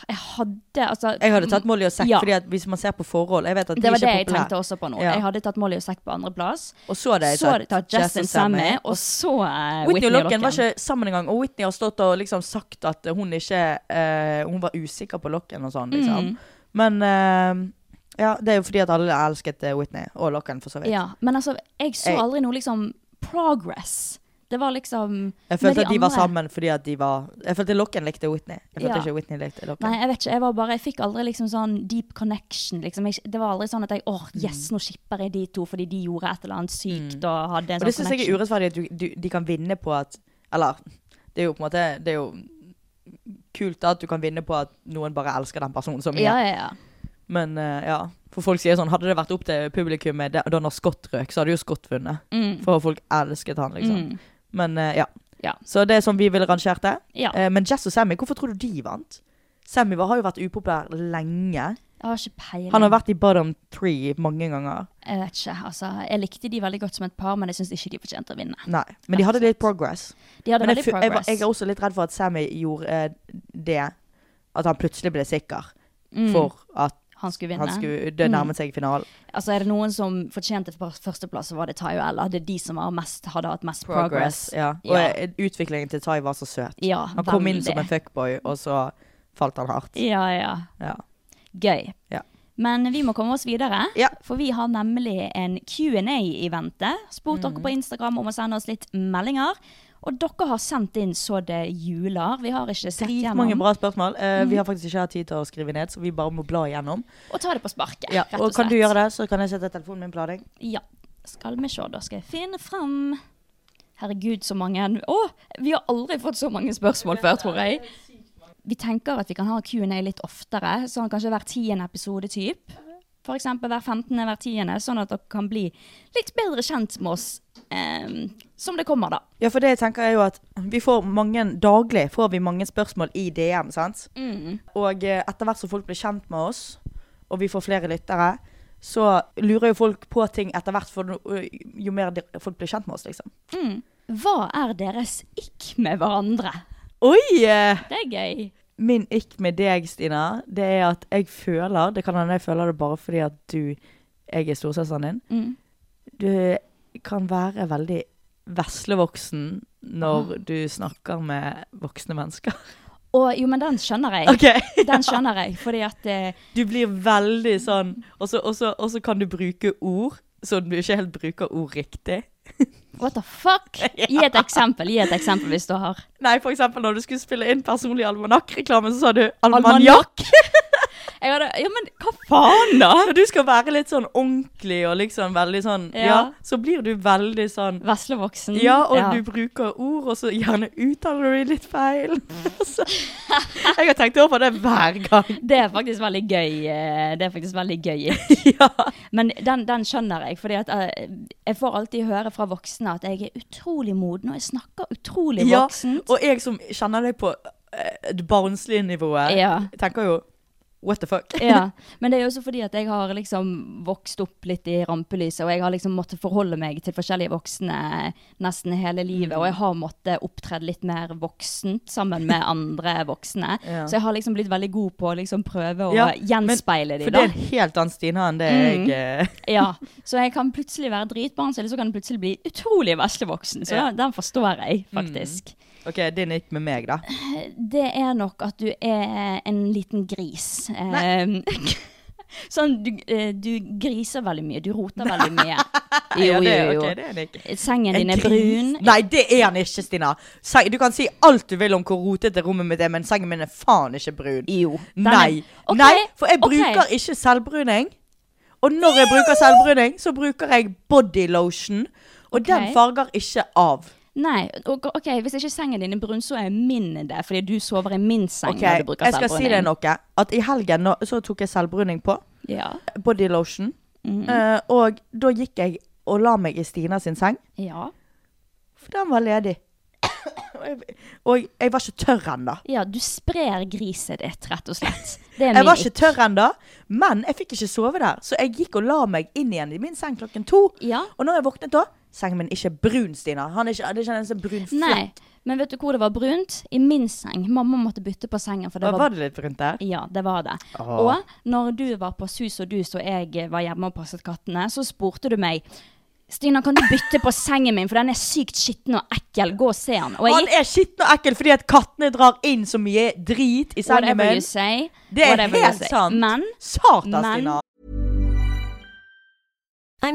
Speaker 1: Jeg hadde altså
Speaker 2: Jeg hadde tatt Molly og Zack,
Speaker 1: Ja.
Speaker 2: fordi at hvis man ser på forhold Jeg vet at de
Speaker 1: Det var det
Speaker 2: ikke er
Speaker 1: jeg tenkte
Speaker 2: populære.
Speaker 1: også på nå.
Speaker 2: Ja.
Speaker 1: Jeg hadde tatt Molly og Zack på andreplass.
Speaker 2: Og så hadde jeg
Speaker 1: Så hadde jeg tatt Justin
Speaker 2: Jess og Sammy,
Speaker 1: Sammy, og så eh,
Speaker 2: Whitney og Locken var
Speaker 1: Locken.
Speaker 2: ikke sammen engang, og Whitney har stått og liksom sagt at hun ikke eh, Hun var usikker på Locken og sånn, liksom.
Speaker 1: Mm.
Speaker 2: Men eh, ja, det er jo fordi at alle elsket eh, Whitney og Locken, for så vidt.
Speaker 1: Ja, men altså, jeg så
Speaker 2: Jeg-
Speaker 1: aldri noe liksom progress. Det var liksom med
Speaker 2: Jeg følte at de var
Speaker 1: andre-
Speaker 2: sammen fordi at de var Jeg følte Locken likte Whitney. Jeg følte
Speaker 1: Ja.
Speaker 2: ikke Whitney likte Locken.
Speaker 1: Nei, jeg vet ikke. Jeg var bare, jeg fikk aldri liksom sånn deep connection. Liksom. Jeg, det var aldri sånn at jeg åh,
Speaker 2: Mm.
Speaker 1: yes, nå shipper jeg de to fordi de gjorde et eller annet sykt og hadde en
Speaker 2: Og det
Speaker 1: sånn
Speaker 2: syns jeg er
Speaker 1: connection.
Speaker 2: urettferdig at du, du, de kan vinne på at Eller det er jo på en måte Det er jo kult da at du kan vinne på at noen bare elsker den personen så mye.
Speaker 1: Ja, ja, ja.
Speaker 2: Men eh, ja. For folk sier sånn Hadde det vært opp til publikummet da- da når Scott røk, så hadde jo Scott vunnet. For folk elsket han, liksom. Men eh, ja.
Speaker 1: Mm. Ja.
Speaker 2: Så det er sånn vi ville rangert det.
Speaker 1: Ja.
Speaker 2: Eh, men Jess og Sammy, hvorfor tror du de vant? Sammy var- har jo vært upopulær lenge.
Speaker 1: Jeg har ikke peiling.
Speaker 2: Han har vært i bottom three mange ganger.
Speaker 1: Jeg vet ikke, altså. Jeg likte de veldig godt som et par, men jeg syns ikke de fortjente å vinne.
Speaker 2: Nei. Men de hadde litt progress.
Speaker 1: De hadde
Speaker 2: Men
Speaker 1: veldig
Speaker 2: jeg, fu- jeg, var-
Speaker 1: progress.
Speaker 2: jeg er også litt redd for at Sammy gjorde eh, det. At han plutselig ble sikker.
Speaker 1: Mm.
Speaker 2: for at
Speaker 1: han skulle vinne. Mm.
Speaker 2: han skulle det nærmet seg finalen.
Speaker 1: Altså Er det noen som fortjente for- førsteplass, så var det Tai og Ella. Det er de som har mest, hadde hatt mest progress.
Speaker 2: Progress. Ja. Og
Speaker 1: Ja.
Speaker 2: eh, utviklingen til Tai var så søt.
Speaker 1: Ja,
Speaker 2: Han kom inn
Speaker 1: veldig.
Speaker 2: som en fuckboy, og så falt han hardt.
Speaker 1: Ja, ja.
Speaker 2: Ja.
Speaker 1: Gøy.
Speaker 2: Ja.
Speaker 1: Men vi må komme oss videre,
Speaker 2: Ja.
Speaker 1: for vi har nemlig en Q&A i vente. Spurt
Speaker 2: Mm.
Speaker 1: dere på Instagram om å sende oss litt meldinger. Og dere har sendt inn så det juler. Vi har ikke sett
Speaker 2: Dritmange
Speaker 1: gjennom. Mm.
Speaker 2: mange bra spørsmål. Eh, Vi har faktisk ikke hatt tid til å skrive ned, så vi bare må bla igjennom.
Speaker 1: Og ta det på sparket,
Speaker 2: Ja.
Speaker 1: rett
Speaker 2: Og
Speaker 1: og
Speaker 2: kan
Speaker 1: slett.
Speaker 2: du gjøre det, så kan jeg sette telefonen min på lading.
Speaker 1: Ja. Skal vi se, da skal jeg finne fram. Herregud, så mange. Å, vi har aldri fått så mange spørsmål før, tror jeg. Vi tenker at vi kan ha Q&A litt oftere, sånn kanskje hver tiende episode typ. For eksempel hver 15. hver tiende, sånn at dere kan bli litt bedre kjent med oss eh, som det kommer, da.
Speaker 2: Ja, for det jeg tenker er jo at vi får mange daglig får vi mange spørsmål i DM, sant? Og eh, etter hvert som folk blir kjent med oss, og vi får flere lyttere, så lurer jo folk på ting etter hvert, for no- jo mer de- folk blir kjent med oss, liksom.
Speaker 1: Hva er deres ikk med hverandre?
Speaker 2: Oi! eh,
Speaker 1: Det er gøy.
Speaker 2: Min ikk med deg, Stina, det er at jeg føler Det kan hende jeg føler det bare fordi at du Jeg er storesøsteren din. Du eh, kan være veldig veslevoksen når du snakker med voksne mennesker.
Speaker 1: Og jo, men den skjønner jeg.
Speaker 2: OK.
Speaker 1: Den skjønner jeg, fordi at eh,
Speaker 2: Du blir veldig sånn Og så- og så og så kan du bruke ord som du ikke helt bruker ord riktig.
Speaker 1: What the fuck? Gi et eksempel, gi et eksempel hvis du har.
Speaker 2: Nei, for eksempel når du skulle spille inn personlig almanakk-reklame, så sa du
Speaker 1: Almanakk.
Speaker 2: almanjakk.
Speaker 1: (laughs) Jeg hadde, ja, men hva faen da?
Speaker 2: Når du skal være litt sånn ordentlig og liksom veldig sånn
Speaker 1: Ja.
Speaker 2: Ja, så blir du veldig sånn
Speaker 1: Veslevoksen.
Speaker 2: Ja, og du bruker ord, og så gjerne uttaler du de litt feil. (laughs) Altså, jeg har tenkt over det hver gang.
Speaker 1: Det er faktisk veldig gøy. eh, Det er faktisk veldig gøy.
Speaker 2: (laughs) Ja.
Speaker 1: Men den, den skjønner jeg, fordi at eh, jeg får alltid høre fra voksne at jeg er utrolig moden, og jeg snakker utrolig
Speaker 2: ja.
Speaker 1: voksent.
Speaker 2: Og jeg som kjenner deg på eh, det barnslige nivået,
Speaker 1: Ja.
Speaker 2: tenker jo What the (laughs) fuck?
Speaker 1: Ja, men det er jo også fordi at jeg har liksom vokst opp litt i rampelyset, og jeg har liksom måttet forholde meg til forskjellige voksne nesten hele livet,
Speaker 2: Mm.
Speaker 1: og jeg har måttet opptrede litt mer voksent sammen
Speaker 2: (laughs)
Speaker 1: med andre voksne.
Speaker 2: Ja.
Speaker 1: Så jeg har liksom blitt veldig god på å liksom prøve å
Speaker 2: Ja,
Speaker 1: gjenspeile
Speaker 2: men-
Speaker 1: de
Speaker 2: For
Speaker 1: da.
Speaker 2: det er en helt annen Stina enn det jeg eh,
Speaker 1: (laughs)
Speaker 2: (laughs)
Speaker 1: Ja, så jeg kan plutselig være dritbarnslig, eller så kan jeg plutselig bli utrolig veslevoksen, så
Speaker 2: Ja. Mm.
Speaker 1: den forstår jeg faktisk.
Speaker 2: OK, din gikk med meg, da.
Speaker 1: Det er nok at du er eh, en liten gris. Nei. (laughs) sånn, du, eh, du griser veldig mye, du roter veldig
Speaker 2: (laughs)
Speaker 1: mye.
Speaker 2: Ja,
Speaker 1: Jo,
Speaker 2: det,
Speaker 1: jo,
Speaker 2: ok,
Speaker 1: jo.
Speaker 2: det er en ikke.
Speaker 1: Sengen din
Speaker 2: En
Speaker 1: er
Speaker 2: gris?
Speaker 1: brun.
Speaker 2: Nei, det er han ikke, Stina. Se- Du kan si alt du vil om hvor rotete rommet mitt er, men sengen min er faen ikke brun.
Speaker 1: Jo. den er-
Speaker 2: Nei.
Speaker 1: Ok,
Speaker 2: Nei, for jeg
Speaker 1: ok.
Speaker 2: bruker ikke selvbruning. Og når jeg bruker selvbruning, så bruker jeg body lotion. Og den
Speaker 1: Ok.
Speaker 2: farger ikke av.
Speaker 1: Nei, ok, ok, Hvis ikke sengen din er brun, så er min det. Fordi du sover i min seng
Speaker 2: Ok,
Speaker 1: når du bruker
Speaker 2: Jeg skal si deg
Speaker 1: selvbruning.
Speaker 2: noe. At i helgen nå, så tok jeg selvbruning på.
Speaker 1: Ja.
Speaker 2: Body lotion.
Speaker 1: Mhm.
Speaker 2: Eh, og da gikk jeg og la meg i Stina sin seng.
Speaker 1: Ja.
Speaker 2: For den var ledig. (coughs) Og jeg- og jeg var ikke tørr ennå.
Speaker 1: ja, du sprer griset ditt, rett og slett. Det er
Speaker 2: Jeg
Speaker 1: min
Speaker 2: var ikke tørr ennå, men jeg fikk ikke sove der. Så jeg gikk og la meg inn igjen i min seng klokken to.
Speaker 1: Ja.
Speaker 2: Og når jeg våknet da, sengen min ikke er brun, Stina. Han er ikke, det er ikke en eneste brun
Speaker 1: Nei,
Speaker 2: flekk.
Speaker 1: men vet du hvor det var brunt? I min seng. Mamma måtte bytte på sengen, for det var
Speaker 2: Hva var det litt brunt der?
Speaker 1: Ja, det var det. Og når du var på sus og dus og jeg var hjemme og passet kattene, så spurte du meg Stina, kan du bytte på sengen min, for den er sykt skitten og ekkel. Gå og se den. Og jeg
Speaker 2: Han
Speaker 1: gikk
Speaker 2: er skitten og ekkel fordi at kattene drar inn så mye drit i sengen
Speaker 1: Whatever you
Speaker 2: min.
Speaker 1: say.
Speaker 2: Det er
Speaker 1: whatever you
Speaker 2: helt
Speaker 1: say.
Speaker 2: sant.
Speaker 1: Men
Speaker 2: Satan,
Speaker 1: men-
Speaker 2: Stina.
Speaker 3: I'm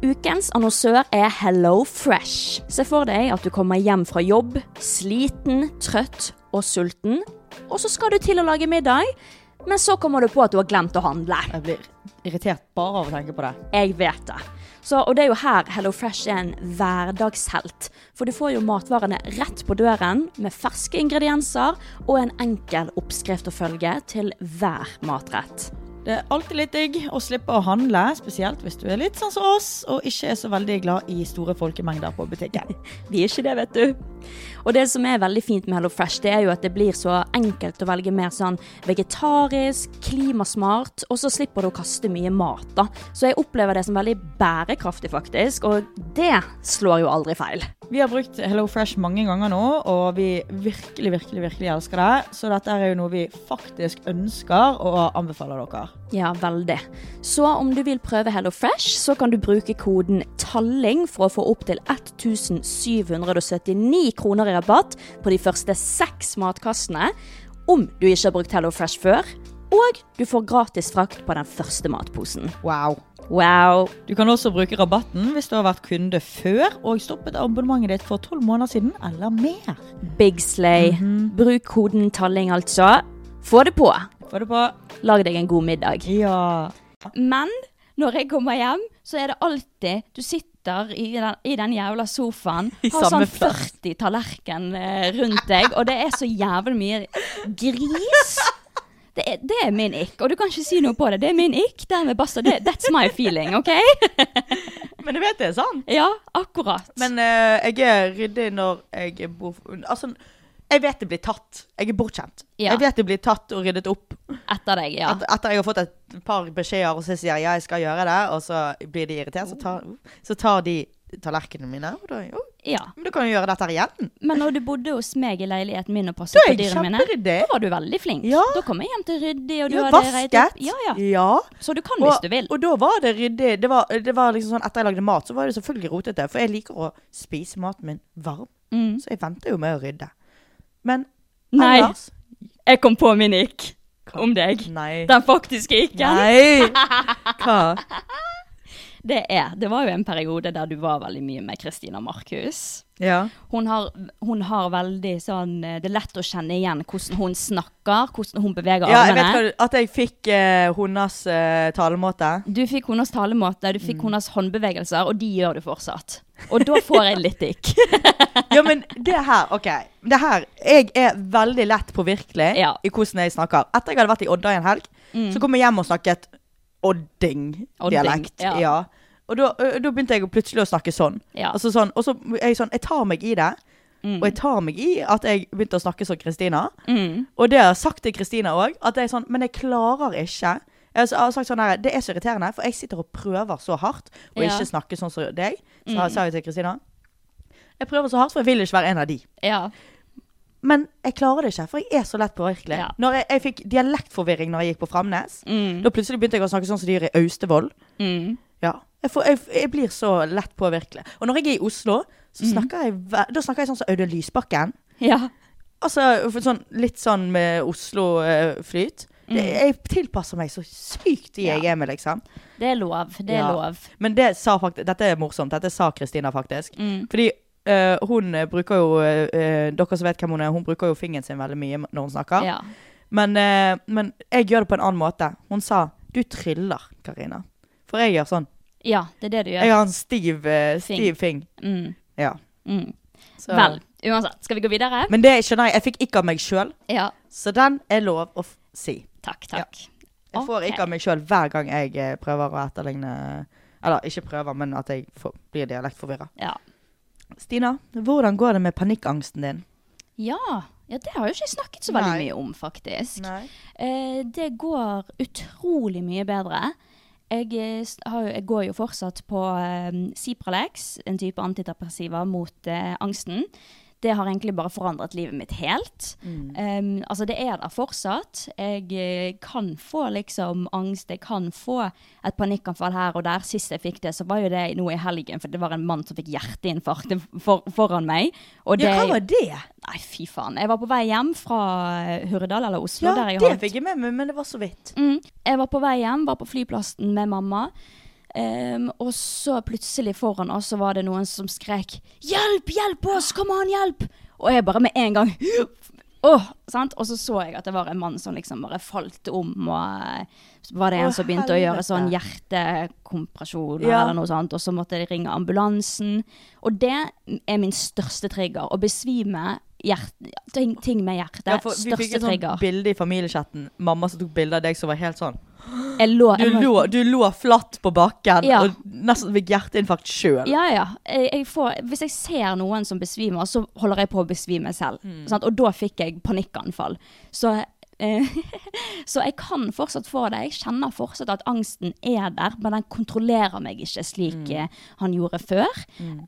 Speaker 1: Ukens annonsør er Hello Fresh. Se for deg at du kommer hjem fra jobb, sliten, trøtt og sulten. Og så skal du til å lage middag, men så kommer du på at du har glemt å handle.
Speaker 2: Jeg blir irritert bare av å tenke på det.
Speaker 1: Jeg vet det. Så, og det er jo her Hello Fresh er en hverdagshelt. For du får jo matvarene rett på døren med ferske ingredienser og en enkel oppskrift å følge til hver matrett.
Speaker 2: Det er alltid litt digg å slippe å handle, spesielt hvis du er litt sånn som oss og ikke er så veldig glad i store folkemengder på butikken.
Speaker 1: Vi er ikke det, vet du. Og det som er veldig fint med Hello Fresh, det er jo at det blir så enkelt å velge mer sånn vegetarisk, klimasmart, og så slipper du å kaste mye mat, da. Så jeg opplever det som veldig bærekraftig, faktisk, og det slår jo aldri feil.
Speaker 2: Vi har brukt Hello Fresh mange ganger nå, og vi virkelig, virkelig, virkelig elsker det. Så dette er jo noe vi faktisk ønsker og anbefaler dere.
Speaker 1: Ja, veldig. Så om du vil prøve Hello Fresh, så kan du bruke koden TALLING for å få opp til 1779 kroner i rabatt på de første seks matkassene om du ikke har brukt Hello Fresh før. Og du får gratis frakt på den første matposen.
Speaker 2: Wow.
Speaker 1: Wow.
Speaker 2: Du kan også bruke rabatten hvis du har vært kunde før og stoppet abonnementet ditt for tolv måneder siden eller mer.
Speaker 1: Big slay. Bruk koden TALLING, altså. Få det på.
Speaker 2: Få det på.
Speaker 1: Lag deg en god middag.
Speaker 2: Ja.
Speaker 1: Men når jeg kommer hjem, så er det alltid Du sitter i den, i den jævla sofaen,
Speaker 2: I
Speaker 1: har
Speaker 2: samme
Speaker 1: sånn
Speaker 2: plass.
Speaker 1: 40 tallerken eh, rundt deg, og det er så jævlig mye gris. Det er, det er min ick, og du kan ikke si noe på det. Det er min ick. Dermed basta. Det, that's my feeling, OK?
Speaker 2: Men jeg vet det er sant.
Speaker 1: Ja, akkurat.
Speaker 2: Men eh, jeg er ryddig når jeg bor Altså, jeg vet det blir tatt. Jeg er bortskjemt.
Speaker 1: Ja.
Speaker 2: Jeg vet det blir tatt og ryddet opp.
Speaker 1: Etter deg, ja.
Speaker 2: Et, etter jeg har fått et par beskjeder, og så sier jeg ja, jeg skal gjøre det, og så blir de irritert, så tar, så tar de tallerkenene mine. Og da, jo,
Speaker 1: ja.
Speaker 2: men du kan jo gjøre dette her igjen.
Speaker 1: Men når du bodde hos meg i leiligheten min og passet
Speaker 2: Da
Speaker 1: på
Speaker 2: er jeg
Speaker 1: dyrene mine,
Speaker 2: kjemperyddig.
Speaker 1: da var du veldig flink.
Speaker 2: Ja.
Speaker 1: Da kom jeg hjem til ryddig, og du
Speaker 2: Ja,
Speaker 1: hadde reit
Speaker 2: vasket.
Speaker 1: opp. Ja, ja.
Speaker 2: Ja.
Speaker 1: Så du kan
Speaker 2: Og,
Speaker 1: hvis du vil.
Speaker 2: og da var det ryddig. Det var, det var liksom sånn, etter jeg lagde mat, så var det selvfølgelig rotete. For jeg liker å spise maten min varm. Så jeg venter jo med å rydde. Men
Speaker 1: Mm. Nei.
Speaker 2: ellers
Speaker 1: Jeg kom på min ikk om deg.
Speaker 2: Nei.
Speaker 1: Den faktiske ikken.
Speaker 2: Nei! Hva?
Speaker 1: Det er. Det var jo en periode der du var veldig mye med Kristina Markus.
Speaker 2: Ja.
Speaker 1: Hun har, hun har veldig sånn eh, Det er lett å kjenne igjen hvordan hun snakker, hvordan hun beveger
Speaker 2: ja jeg
Speaker 1: armene.
Speaker 2: vet hva, du- at jeg fikk eh, hennes eh, talemåte.
Speaker 1: Du fikk hennes talemåte, du fikk
Speaker 2: Mm.
Speaker 1: hennes håndbevegelser, og de gjør du fortsatt. Og da får jeg litt ikk.
Speaker 2: (laughs) Ja, men det her, ok. Det her, Jeg er veldig lett påvirkelig
Speaker 1: Ja. Mm.
Speaker 2: i hvordan jeg snakker. Etter jeg hadde vært i Odda i en helg, så kom jeg hjem og snakket odding-dialekt.
Speaker 1: Odding, ja.
Speaker 2: ja. Og da, ø, da begynte jeg plutselig å snakke sånn.
Speaker 1: Ja. Mm.
Speaker 2: Altså sånn og så er jeg sånn Jeg tar meg i det. Og jeg tar meg i at jeg begynte å snakke som Kristina. Og det har jeg sagt til Kristina òg. At jeg er sånn Men jeg klarer ikke. Jeg har s- jeg har sagt sånn her, Det er så irriterende, for jeg sitter og prøver så hardt å
Speaker 1: Ja. Mm.
Speaker 2: ikke snakke sånn som deg. Så har- sa jeg til Kristina. Jeg prøver så hardt, for jeg vil ikke være en av de.
Speaker 1: Ja.
Speaker 2: Men jeg klarer det ikke, for jeg er så lett påvirkelig.
Speaker 1: Ja. Mm.
Speaker 2: Når jeg, jeg fikk dialektforvirring når jeg gikk på Framnes. Da plutselig begynte jeg å snakke sånn som de gjør i Austevoll. Ja. Jeg, får, jeg, jeg blir så lett påvirkelig. Og når jeg er i Oslo, så
Speaker 1: Mm.
Speaker 2: snakker jeg, ve- da snakker jeg sånn som Audun Lysbakken.
Speaker 1: ja.
Speaker 2: Altså for sånn, litt sånn med Oslo-flyt.
Speaker 1: Mm.
Speaker 2: Jeg tilpasser meg så sykt de jeg er med, liksom.
Speaker 1: Det er lov. Det er
Speaker 2: Ja.
Speaker 1: lov.
Speaker 2: Men det sa faktisk, dette er morsomt, dette sa Kristina faktisk.
Speaker 1: Mm.
Speaker 2: Fordi eh, hun eh, bruker jo, eh, dere som vet hvem hun er, hun bruker jo fingeren sin veldig mye når hun snakker.
Speaker 1: Ja.
Speaker 2: Men, eh, men jeg gjør det på en annen måte. Hun sa, du triller, Karina. For jeg gjør sånn.
Speaker 1: ja, det er det du gjør.
Speaker 2: Jeg har en stiv, eh, stiv fing.
Speaker 1: Mm.
Speaker 2: Ja.
Speaker 1: Mm.
Speaker 2: Så-
Speaker 1: Vel, uansett. Skal vi gå videre?
Speaker 2: Men det skjønner jeg, jeg fikk ikke av meg selv.
Speaker 1: Ja.
Speaker 2: Så den er lov å f- si.
Speaker 1: Takk, takk.
Speaker 2: Jeg får
Speaker 1: Ok.
Speaker 2: ikke av meg selv hver gang jeg eh, prøver å etterligne, eller ikke prøver, men at jeg får, blir dialektforvirret.
Speaker 1: Ja.
Speaker 2: Stina, hvordan går det med panikkangsten din?
Speaker 1: Ja, ja, det har jo ikke jeg snakket så veldig
Speaker 2: Nei.
Speaker 1: mye om, faktisk. Eh, det går utrolig mye bedre. Jeg, eh, s- har, jo- jeg går jo fortsatt på eh, Cipralex, en type antidepressiva mot eh, angsten. Det har egentlig bare forandret livet mitt helt.
Speaker 2: Mm.
Speaker 1: Um, altså, det er der fortsatt. Jeg eh, kan få liksom angst, jeg kan få et panikkanfall her og der. Sist jeg fikk det, så var jo det nå i helgen, for det var en mann som fikk hjerteinfarkt for, foran meg. Og det,
Speaker 2: Ja, hva var det?
Speaker 1: Nei, fy faen. Jeg var på vei hjem fra eh, Hurdal eller Oslo.
Speaker 2: Ja,
Speaker 1: der jeg
Speaker 2: det
Speaker 1: holdt-
Speaker 2: fikk jeg med meg, men det var så vidt.
Speaker 1: Mm. Jeg var på vei hjem, var på flyplassen med mamma. Ehm, og så plutselig foran oss så var det noen som skrek 'Hjelp! Hjelp oss! Kom an, hjelp!' Og jeg bare med en gang (gasps) Åh, sant? Og så så jeg at det var en mann som liksom bare falt om, og eh, så var det en
Speaker 2: Å,
Speaker 1: som begynte å gjøre sånn hjertekompresjoner
Speaker 2: Ja.
Speaker 1: eller noe sånt, og så måtte de ringe ambulansen. Og det er min største trigger, å besvime hjert, ting, ting med hjertet.
Speaker 2: Ja, for vi fikk
Speaker 1: største
Speaker 2: et sånt
Speaker 1: trigger.
Speaker 2: bilde i familiechatten. Mamma som tok bilde av deg som var helt sånn.
Speaker 1: Jeg lå,
Speaker 2: Du
Speaker 1: jeg må-
Speaker 2: lå, du lå flatt på bakken
Speaker 1: Ja.
Speaker 2: og nesten fikk hjerteinfarkt sjøl.
Speaker 1: Ja, ja. Jeg jeg får, hvis jeg ser noen som besvimer, så holder jeg på å besvime selv. Sant? Og da fikk jeg panikkanfall. Så, eh, så jeg kan fortsatt få det. Jeg kjenner fortsatt at angsten er der, men den kontrollerer meg ikke slik eh, han gjorde før.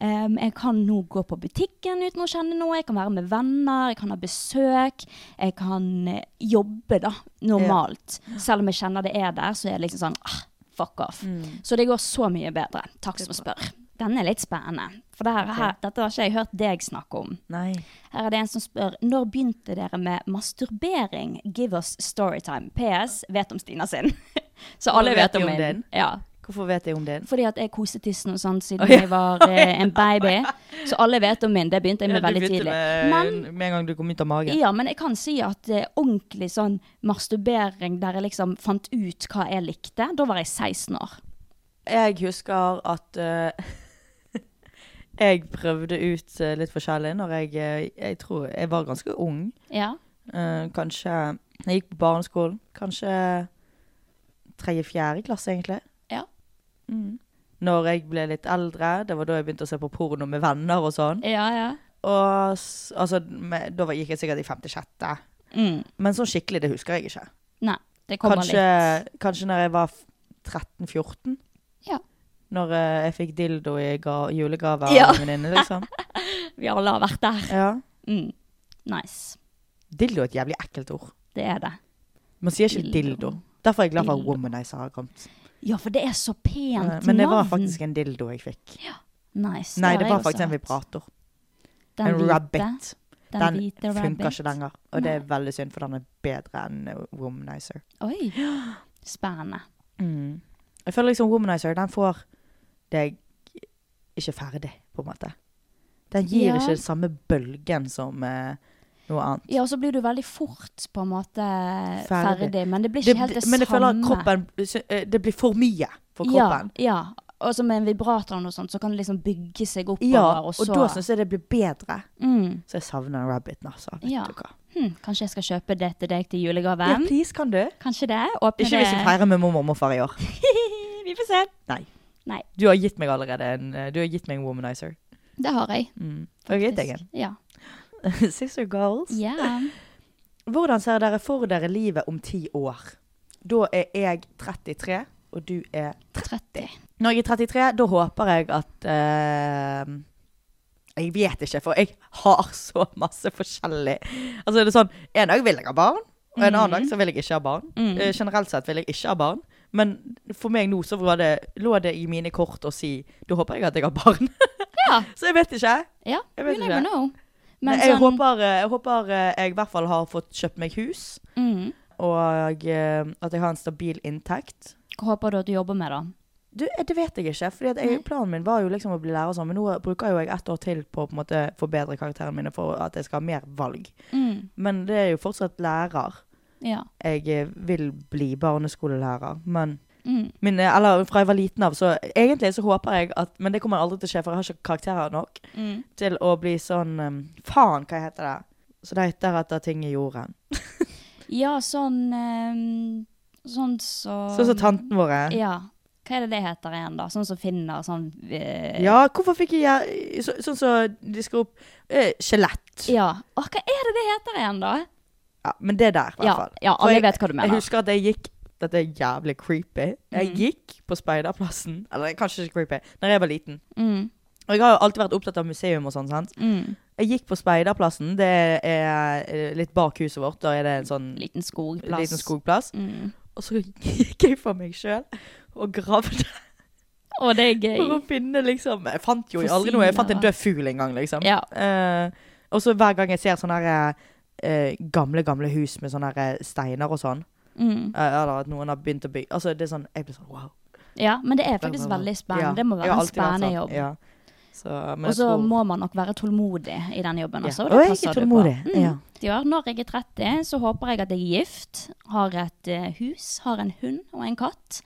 Speaker 1: Em, jeg kan nå gå på butikken uten å kjenne noe, jeg kan være med venner, jeg kan ha besøk, jeg kan eh, jobbe da, normalt. Selv om jeg kjenner det er der, så er det liksom sånn ah, fuck off. Så det går så mye bedre. Takk som spør. Den er litt spennende. For det her, her, dette har ikke jeg hørt deg snakke om.
Speaker 2: Nei.
Speaker 1: Her er det en som spør Når begynte dere med masturbering? Give us storytime. PS. Vet om Stina sin. (laughs) Så alle
Speaker 2: Nå
Speaker 1: vet,
Speaker 2: vet vi
Speaker 1: om
Speaker 2: om
Speaker 1: min.
Speaker 2: din.
Speaker 1: Ja.
Speaker 2: Hvorfor vet jeg om den?
Speaker 1: Fordi at jeg koset tissen og sånn siden
Speaker 2: Å, ja.
Speaker 1: jeg (laughs) var eh, en baby. Så alle vet om min. Det begynte jeg med veldig tidlig. Men
Speaker 2: Med, med en gang du kom ut av magen.
Speaker 1: ja, men jeg kan si at eh, ordentlig sånn masturbering der jeg liksom fant ut hva jeg likte, da var jeg 16 år.
Speaker 2: Jeg husker at eh, (laughs) jeg prøvde ut eh, litt forskjellig når jeg eh, Jeg tror jeg var ganske ung.
Speaker 1: Ja.
Speaker 2: Eh, kanskje Jeg gikk på barneskolen. Kanskje tredje-fjerde klasse, egentlig.
Speaker 1: Ja.
Speaker 2: Mm. Når jeg ble litt eldre, det var da jeg begynte å se på porno med venner og sånn.
Speaker 1: Ja, ja.
Speaker 2: Og s- altså, med, da var- gikk jeg sikkert i femte-sjette.
Speaker 1: Mm.
Speaker 2: Men sånn skikkelig, det husker jeg ikke.
Speaker 1: Nei, det kommer
Speaker 2: Kanskje, kanskje når jeg var f- 13-14.
Speaker 1: Ja.
Speaker 2: Når eh, jeg fikk dildo i ga julegave av
Speaker 1: Ja.
Speaker 2: en
Speaker 1: (laughs)
Speaker 2: venninne, liksom.
Speaker 1: litt. Vi alle har vært der.
Speaker 2: Ja.
Speaker 1: Mm. Nice.
Speaker 2: Dildo er et jævlig ekkelt ord.
Speaker 1: Det er det.
Speaker 2: Man sier ikke
Speaker 1: Dildo.
Speaker 2: dildo. Derfor er jeg glad for at
Speaker 1: Dildo.
Speaker 2: womanizer har kommet.
Speaker 1: Ja, for det er så pent
Speaker 2: Eh,
Speaker 1: navn.
Speaker 2: Men det var faktisk en dildo jeg fikk.
Speaker 1: nice,
Speaker 2: Nei,
Speaker 1: har
Speaker 2: det
Speaker 1: jeg
Speaker 2: var
Speaker 1: også
Speaker 2: faktisk en
Speaker 1: hatt.
Speaker 2: vibrator.
Speaker 1: Den
Speaker 2: En
Speaker 1: hvite-
Speaker 2: rabbit.
Speaker 1: Den,
Speaker 2: Den
Speaker 1: hvite
Speaker 2: funker
Speaker 1: rabbit.
Speaker 2: ikke lenger. Og det er veldig synd, for den er bedre enn eh, womanizer.
Speaker 1: Oi, spennende.
Speaker 2: Mm. Jeg føler liksom Womanizer, den får deg ikke ferdig, på en måte. Den gir
Speaker 1: Ja.
Speaker 2: ikke den samme bølgen som eh, noe annet.
Speaker 1: Ja, og så blir du veldig fort på en måte ferdig,
Speaker 2: Ferdig.
Speaker 1: men det blir ikke helt det
Speaker 2: men
Speaker 1: samme.
Speaker 2: jeg føler at kroppen eh, Det blir for mye for kroppen.
Speaker 1: Ja, ja. Og så med en vibrator og noe sånt, så kan det liksom bygge seg oppover,
Speaker 2: Ja,
Speaker 1: og
Speaker 2: og,
Speaker 1: så
Speaker 2: da syns jeg det blir bedre.
Speaker 1: mm.
Speaker 2: Så jeg savner rabbiten, altså. Vet
Speaker 1: Ja.
Speaker 2: du hva.
Speaker 1: hm, Kanskje jeg skal kjøpe det til deg til julegave?
Speaker 2: Ja, please, kan du?
Speaker 1: Kanskje det? Åpne
Speaker 2: Ikke
Speaker 1: det
Speaker 2: hvis vi feirer med mormor og morfar i år.
Speaker 1: Vi får se.
Speaker 2: Nei.
Speaker 1: Nei,
Speaker 2: Du har gitt meg allerede en eh, Du har gitt meg en womanizer.
Speaker 1: (laughs) det har jeg.
Speaker 2: Mm. Og jeg har gitt deg en.
Speaker 1: Ja.
Speaker 2: (laughs) Sister girls.
Speaker 1: Ja.
Speaker 2: Hvordan ser dere for dere livet om ti år? Da er jeg 33, og du er
Speaker 1: 30.
Speaker 2: Når jeg er 33, da håper jeg at eh, Jeg vet ikke, for jeg har så masse forskjellig. Altså er det sånn, En dag vil jeg ha barn, og en annen dag så vil jeg ikke ha barn. Eh, generelt sett vil jeg ikke ha barn. Men for meg nå så var det, lå det i mine kort å si da håper jeg at jeg har barn. (laughs)
Speaker 1: Ja.
Speaker 2: så jeg vet ikke.
Speaker 1: Ja,
Speaker 2: Jeg
Speaker 1: you
Speaker 2: vet
Speaker 1: never
Speaker 2: ikke.
Speaker 1: know. sånn-
Speaker 2: Men jeg, håper, eh, jeg håper eh, jeg i hvert fall har fått kjøpt meg hus.
Speaker 1: mm,
Speaker 2: Og eh, at jeg har en stabil inntekt.
Speaker 1: Hva håper du at du jobber med, da?
Speaker 2: Du, eh, det vet jeg ikke, for planen min var jo liksom å bli lærer og sånn, men nå bruker jo jeg ett år til på å på en måte forbedre karakterene mine for at jeg skal ha mer valg.
Speaker 1: Mm,
Speaker 2: Men det er jo fortsatt lærer.
Speaker 1: ja.
Speaker 2: Jeg eh, vil bli barneskolelærer, men
Speaker 1: Mm,
Speaker 2: min, eh, Eller fra jeg var liten av, så egentlig så håper jeg at Men det kommer aldri til å skje, for jeg har ikke karakterer nok
Speaker 1: mm.
Speaker 2: til å bli sånn eh, Faen, hva heter det? Så det heter etter ting i jorden.
Speaker 1: ja, sånn ehm, Sånn så
Speaker 2: Sånn som tanten vår er.
Speaker 1: Ja. Hva er det det heter igjen, da? Sånn som finner sånn eh,
Speaker 2: Ja, hvorfor fikk jeg jeg- så, Sånn som de skal opp eh, Skjelett. Ja.
Speaker 1: ja. Åh, hva er det det heter igjen, da?
Speaker 2: men det der, i hvert
Speaker 1: Ja,
Speaker 2: fall.
Speaker 1: ja,
Speaker 2: For
Speaker 1: alle
Speaker 2: jeg-
Speaker 1: vet hva du mener. Mhm.
Speaker 2: Jeg husker at jeg gikk Dette er jævlig creepy. Jeg gikk på Speiderplassen Eller kanskje ikke creepy, Når jeg var liten.
Speaker 1: Mm,
Speaker 2: Og jeg har jo alltid vært opptatt av museum og sånn, sant.
Speaker 1: mm,
Speaker 2: Jeg gikk på Speiderplassen. Det er eh, litt bak huset vårt. Da er det en sånn
Speaker 1: Liten skogplass.
Speaker 2: liten skogplass.
Speaker 1: Mm.
Speaker 2: Og så gikk jeg for meg sjøl og gravde
Speaker 1: Og det er
Speaker 2: for å (laughs)
Speaker 1: gøy.
Speaker 2: finne liksom Jeg fant jo aldri noe. Jeg fant en
Speaker 1: Fossiler.
Speaker 2: død fugl en gang, liksom.
Speaker 1: Ja.
Speaker 2: Eh, og så hver gang jeg ser sånne her, eh, gamle, gamle hus med sånne her steiner og sånn,
Speaker 1: Mm.
Speaker 2: eh, eller at noen har begynt å bygge Altså, det er sånn Jeg blir sånn wow.
Speaker 1: ja, men det er faktisk veldig spennende.
Speaker 2: Ja,
Speaker 1: Det må
Speaker 2: jeg
Speaker 1: være
Speaker 2: har
Speaker 1: en
Speaker 2: alltid vært
Speaker 1: spennende
Speaker 2: sånn,
Speaker 1: jobb.
Speaker 2: Ja. Så, men
Speaker 1: Og
Speaker 2: jeg
Speaker 1: så
Speaker 2: tror-
Speaker 1: må man nok være tålmodig i den jobben
Speaker 2: Ja.
Speaker 1: også.
Speaker 2: Og
Speaker 1: det
Speaker 2: jeg er
Speaker 1: passer du på.
Speaker 2: tålmodig,
Speaker 1: Mm.
Speaker 2: ja.
Speaker 1: Ja, når jeg er 30, så håper jeg at jeg er gift, har et eh, hus, har en hund og en katt.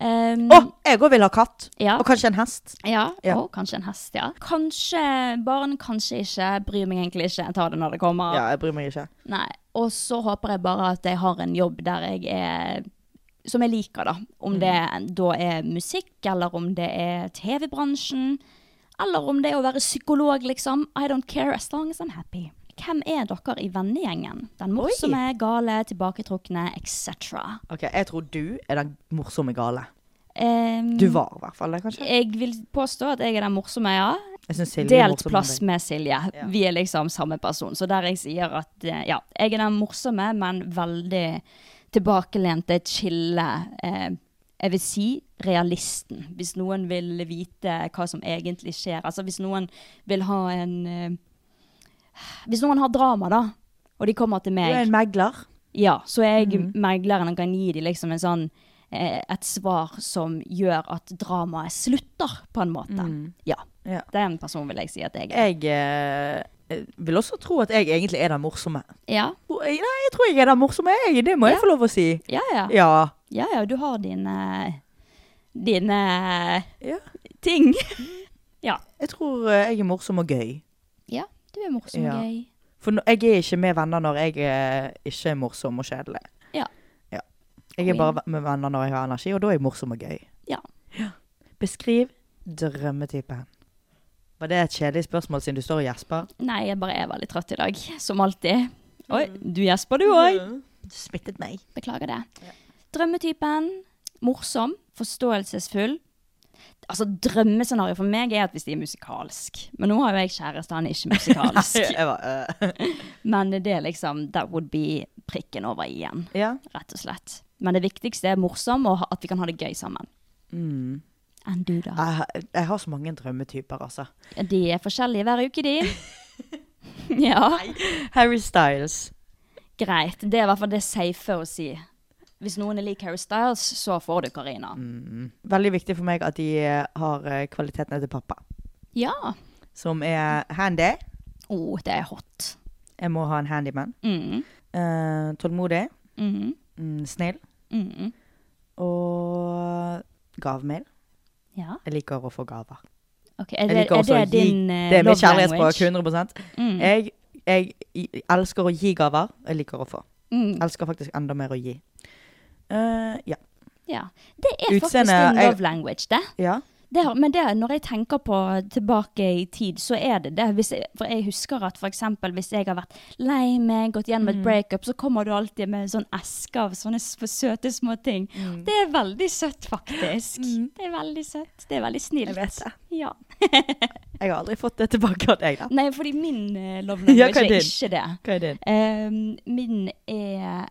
Speaker 1: Um,
Speaker 2: Å, jeg òg vil ha katt.
Speaker 1: Ja.
Speaker 2: Og kanskje en hest.
Speaker 1: Ja,
Speaker 2: Ja.
Speaker 1: og kanskje en hest, ja. Kanskje barn, kanskje ikke. Bryr meg egentlig ikke. Jeg tar det når det kommer.
Speaker 2: Ja, jeg bryr meg ikke.
Speaker 1: Nei. Og så håper jeg bare at jeg har en jobb der jeg er Som jeg liker, da. Om det da er musikk, eller om det er TV-bransjen. Eller om det er å være psykolog, liksom. I don't care as long as I'm happy. Hvem er dere i vennegjengen? Den morsomme, gale, tilbaketrukne, etc.
Speaker 2: Ok, Jeg tror du er den morsomme gale.
Speaker 1: Um,
Speaker 2: Du var i hvert fall det, kanskje.
Speaker 1: Jeg vil påstå at jeg er den morsomme, ja.
Speaker 2: Jeg synes Silje er
Speaker 1: Delt
Speaker 2: morsom,
Speaker 1: plass
Speaker 2: men-
Speaker 1: med Silje. Vi er liksom samme person. Så der jeg sier at eh, ja, jeg er den morsomme, men veldig tilbakelente, chille eh, Jeg vil si realisten. Hvis noen vil vite hva som egentlig skjer. Altså hvis noen vil ha en eh, Hvis noen har drama, da, og de kommer til
Speaker 2: Du er
Speaker 1: meg,
Speaker 2: en megler.
Speaker 1: ja, så er jeg
Speaker 2: Mhm.
Speaker 1: megleren og kan gi dem liksom en sånn eh, et svar som gjør at dramaet slutter, på en måte. Ja.
Speaker 2: Mhm. Ja.
Speaker 1: Den personen vil jeg si at jeg er.
Speaker 2: Jeg eh, vil også tro at jeg egentlig er den morsomme.
Speaker 1: Ja,
Speaker 2: Hvor- Nei, jeg tror jeg er den morsomme, jeg. Det må jeg
Speaker 1: Ja.
Speaker 2: få lov å si.
Speaker 1: ja, ja. ja.
Speaker 2: Ja.
Speaker 1: ja, du har dine dine
Speaker 2: ja.
Speaker 1: eh, ting. ja.
Speaker 2: Jeg tror eh, jeg er morsom og gøy.
Speaker 1: ja, du er morsom og
Speaker 2: Ja.
Speaker 1: gøy.
Speaker 2: For nå- jeg er ikke med venner når jeg eh, ikke er morsom og kjedelig.
Speaker 1: Ja.
Speaker 2: Ja. Jeg er
Speaker 1: Queen.
Speaker 2: bare med venner når jeg har energi, og da er jeg morsom og gøy.
Speaker 1: Ja.
Speaker 2: Beskriv drømmetypen. Var det et kjedelig spørsmål siden du står og gjesper?
Speaker 1: Nei, jeg bare er veldig trøtt i dag, som alltid. Oi, du gjesper du òg.
Speaker 2: Mm. Du smittet meg.
Speaker 1: Beklager det. Drømmetypen. Morsom. Forståelsesfull. Altså, Drømmescenarioet for meg er at hvis de er musikalsk. Men nå har jo jeg kjæreste, han er ikke
Speaker 2: (laughs)
Speaker 1: musikalsk.
Speaker 2: Jeg var, eh,
Speaker 1: (laughs) Men det er liksom That would be prikken over igjen.
Speaker 2: ja.
Speaker 1: rett og slett. Men det viktigste er morsom, og ha- at vi kan ha det gøy sammen.
Speaker 2: Mm.
Speaker 1: Enn du, da?
Speaker 2: jeg, har- jeg har så mange drømmetyper, altså.
Speaker 1: De er forskjellige hver uke, de.
Speaker 2: (laughs)
Speaker 1: ja.
Speaker 2: Harry Styles.
Speaker 1: Greit. Det er i hvert fall det safe å si. Hvis noen er lik Harry Styles, så får du Karina.
Speaker 2: Mm. Veldig viktig for meg at de eh, har eh, kvalitetene til pappa.
Speaker 1: Ja.
Speaker 2: Som er handy.
Speaker 1: Oh, det er hot.
Speaker 2: Jeg må ha en handyman.
Speaker 1: Mm.
Speaker 2: Eh, tålmodig.
Speaker 1: Mm.
Speaker 2: Mm, snill.
Speaker 1: Mm.
Speaker 2: Og gavmild.
Speaker 1: Ja.
Speaker 2: Jeg liker å få gaver.
Speaker 1: Ok, Er
Speaker 2: Jeg
Speaker 1: det,
Speaker 2: liker
Speaker 1: er
Speaker 2: også
Speaker 1: det
Speaker 2: å gi
Speaker 1: din eh,
Speaker 2: Det er mitt
Speaker 1: love
Speaker 2: kjærlighetsspråk.
Speaker 1: language?
Speaker 2: 100
Speaker 1: Mm.
Speaker 2: jeg, jeg i- elsker å gi gaver. Jeg liker å få.
Speaker 1: Mm.
Speaker 2: Elsker faktisk enda mer å gi. Eh, ja.
Speaker 1: Ja. Det er faktisk
Speaker 2: Utseende,
Speaker 1: din
Speaker 2: jeg-
Speaker 1: love language, det.
Speaker 2: ja.
Speaker 1: Det, har- men det, når jeg tenker på tilbake i tid, så er det det. Hvis jeg, for jeg husker at f.eks. hvis jeg har vært lei meg, gått gjennom
Speaker 2: Mm.
Speaker 1: et breakup, så kommer du alltid med en sånn eske av sånne s- søte små ting.
Speaker 2: Mm.
Speaker 1: Det er veldig søtt, faktisk. Det er veldig søtt. Det er veldig snilt.
Speaker 2: Jeg vet det.
Speaker 1: Ja.
Speaker 2: Jeg har aldri fått det tilbake av deg, da.
Speaker 1: Nei, fordi min eh, love
Speaker 2: Ja,
Speaker 1: language
Speaker 2: hva er
Speaker 1: er
Speaker 2: din?
Speaker 1: ikke det.
Speaker 2: Hva er din?
Speaker 1: Ehm, min er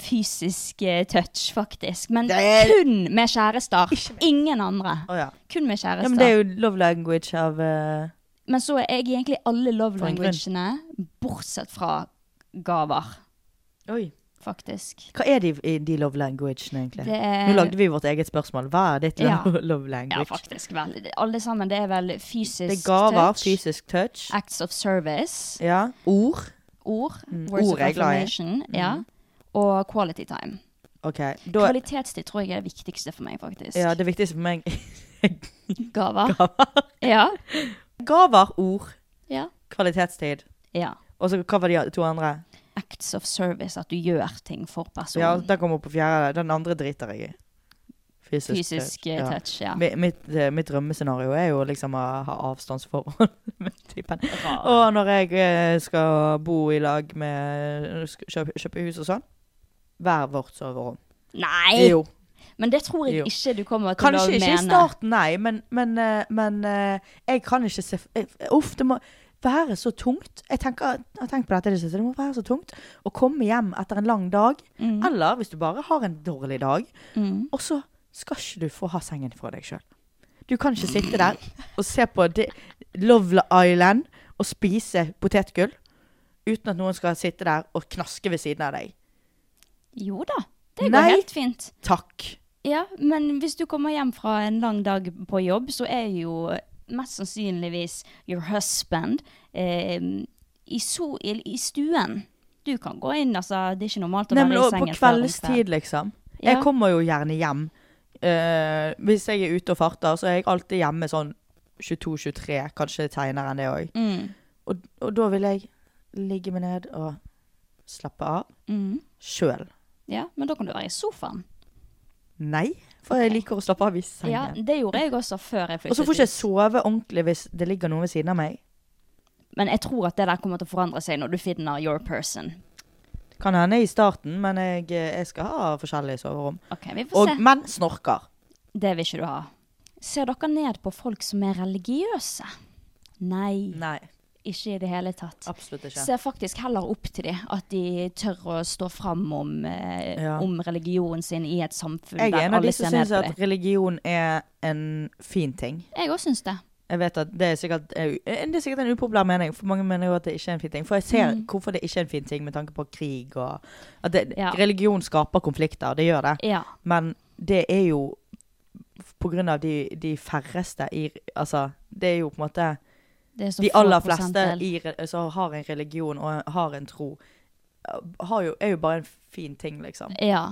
Speaker 1: fysisk eh, touch, faktisk. Men
Speaker 2: Det er-
Speaker 1: kun med kjærester. Ingen andre.
Speaker 2: Å ja.
Speaker 1: Kun med kjærester.
Speaker 2: ja. Men det er jo love language av eh,
Speaker 1: Men så er jeg egentlig alle love
Speaker 2: For en grunn.
Speaker 1: languagene, bortsett fra gaver,
Speaker 2: Oi.
Speaker 1: faktisk.
Speaker 2: Hva er de, i de love languagene, egentlig?
Speaker 1: Det er-
Speaker 2: Nå lagde vi vårt eget spørsmål. Hva er ditt
Speaker 1: Ja.
Speaker 2: lo- love
Speaker 1: Ja,
Speaker 2: language?
Speaker 1: faktisk vel. Alle sammen, det er vel fysisk
Speaker 2: det er gaver,
Speaker 1: touch,
Speaker 2: fysisk touch.
Speaker 1: acts of service,
Speaker 2: Ja. Ord.
Speaker 1: ord, words
Speaker 2: Mm. Ord
Speaker 1: of
Speaker 2: er jeg glad i.
Speaker 1: affirmation, ja, og quality time.
Speaker 2: OK. Da,
Speaker 1: Kvalitetstid tror jeg er det viktigste for meg, faktisk.
Speaker 2: ja, det viktigste for meg
Speaker 1: (laughs)
Speaker 2: (laughs)
Speaker 1: Gaver.
Speaker 2: Gaver.
Speaker 1: (laughs) Ja.
Speaker 2: Gaver, ord,
Speaker 1: ja.
Speaker 2: kvalitetstid.
Speaker 1: Ja.
Speaker 2: Og så hva var de to andre?
Speaker 1: Acts of service, at du gjør ting for
Speaker 2: Ja,
Speaker 1: personen.
Speaker 2: den kommer på fjerde. Den andre driter jeg i. Fysisk,
Speaker 1: Fysisk eh, touch, ja.
Speaker 2: Mi- Mitt, eh, mitt drømmescenario er jo liksom å ha avstandsforhold (laughs) med typen. Og når jeg eh, skal bo i lag med sk- kjøpe, kjøpe hus og sånn, hver vårt soverom.
Speaker 1: Nei!
Speaker 2: Jo.
Speaker 1: Men det tror jeg
Speaker 2: Jo.
Speaker 1: ikke du kommer til å mene.
Speaker 2: Kanskje ikke i starten, nei, men, men, eh, men eh, jeg kan ikke se f- eh, Uff, det må være så tungt. Jeg, tenker, jeg har tenkt på dette i det siste. Det må være så tungt å komme hjem etter en lang dag. Eller hvis du bare har en dårlig dag. Og så skal ikke du få ha sengen for deg sjøl. Du kan ikke sitte der og se på de- Love Island og spise potetgull uten at noen skal sitte der og knaske ved siden av deg.
Speaker 1: Jo da, det går
Speaker 2: Nei.
Speaker 1: helt fint.
Speaker 2: Takk.
Speaker 1: Ja, men hvis du kommer hjem fra en lang dag på jobb, så er jo mest sannsynligvis your husband eh, i, so i, i stuen. Du kan gå inn, altså. Det er ikke normalt å
Speaker 2: Nemlig
Speaker 1: være i
Speaker 2: og på
Speaker 1: sengen før om
Speaker 2: kveldstid, liksom.
Speaker 1: Ja.
Speaker 2: Jeg kommer jo gjerne hjem. Eh, hvis jeg er ute og farter, så er jeg alltid hjemme sånn 22-23, kanskje seinere enn det òg.
Speaker 1: Mm.
Speaker 2: Og, og da vil jeg ligge meg ned og slappe av
Speaker 1: Mm.
Speaker 2: sjøl.
Speaker 1: Ja, men da kan du være i sofaen.
Speaker 2: Nei, for jeg liker å slappe av i
Speaker 1: Ja,
Speaker 2: sengen.
Speaker 1: det gjorde jeg også før jeg flyttet
Speaker 2: og så får ikke jeg
Speaker 1: ut.
Speaker 2: sove ordentlig hvis det ligger noen ved siden av meg.
Speaker 1: Men jeg tror at det der kommer til å forandre seg når du finner your person.
Speaker 2: Kan hende i starten, men jeg, eh, jeg skal ha forskjellige soverom.
Speaker 1: Ok, vi får
Speaker 2: Og
Speaker 1: se.
Speaker 2: menn snorker.
Speaker 1: Det vil ikke du ha. Ser dere ned på folk som er religiøse? Nei,
Speaker 2: Nei,
Speaker 1: ikke i det hele tatt.
Speaker 2: absolutt ikke.
Speaker 1: Ser faktisk heller opp til dem, at de tør å stå fram om, eh,
Speaker 2: Ja.
Speaker 1: om religionen sin i et samfunn
Speaker 2: Jeg er
Speaker 1: der
Speaker 2: en av de
Speaker 1: alle
Speaker 2: som
Speaker 1: ser ned
Speaker 2: syns
Speaker 1: på
Speaker 2: at
Speaker 1: dem.
Speaker 2: religion er en fin ting.
Speaker 1: Jeg òg syns det.
Speaker 2: Jeg vet at det er sikkert, eh, det er sikkert en upopulær mening, for mange mener jo at det ikke er en fin ting. For jeg ser
Speaker 1: Mm.
Speaker 2: hvorfor det ikke er en fin ting med tanke på krig og At det,
Speaker 1: Ja.
Speaker 2: religion skaper konflikter, det gjør det.
Speaker 1: Ja.
Speaker 2: Men det er jo på grunn av de, de færreste i Altså, det er jo på en måte
Speaker 1: Det er så
Speaker 2: De
Speaker 1: få
Speaker 2: aller fleste
Speaker 1: prosentdel.
Speaker 2: i, re- som har en religion og har en tro, har jo, er jo bare en fin ting, liksom.
Speaker 1: Ja.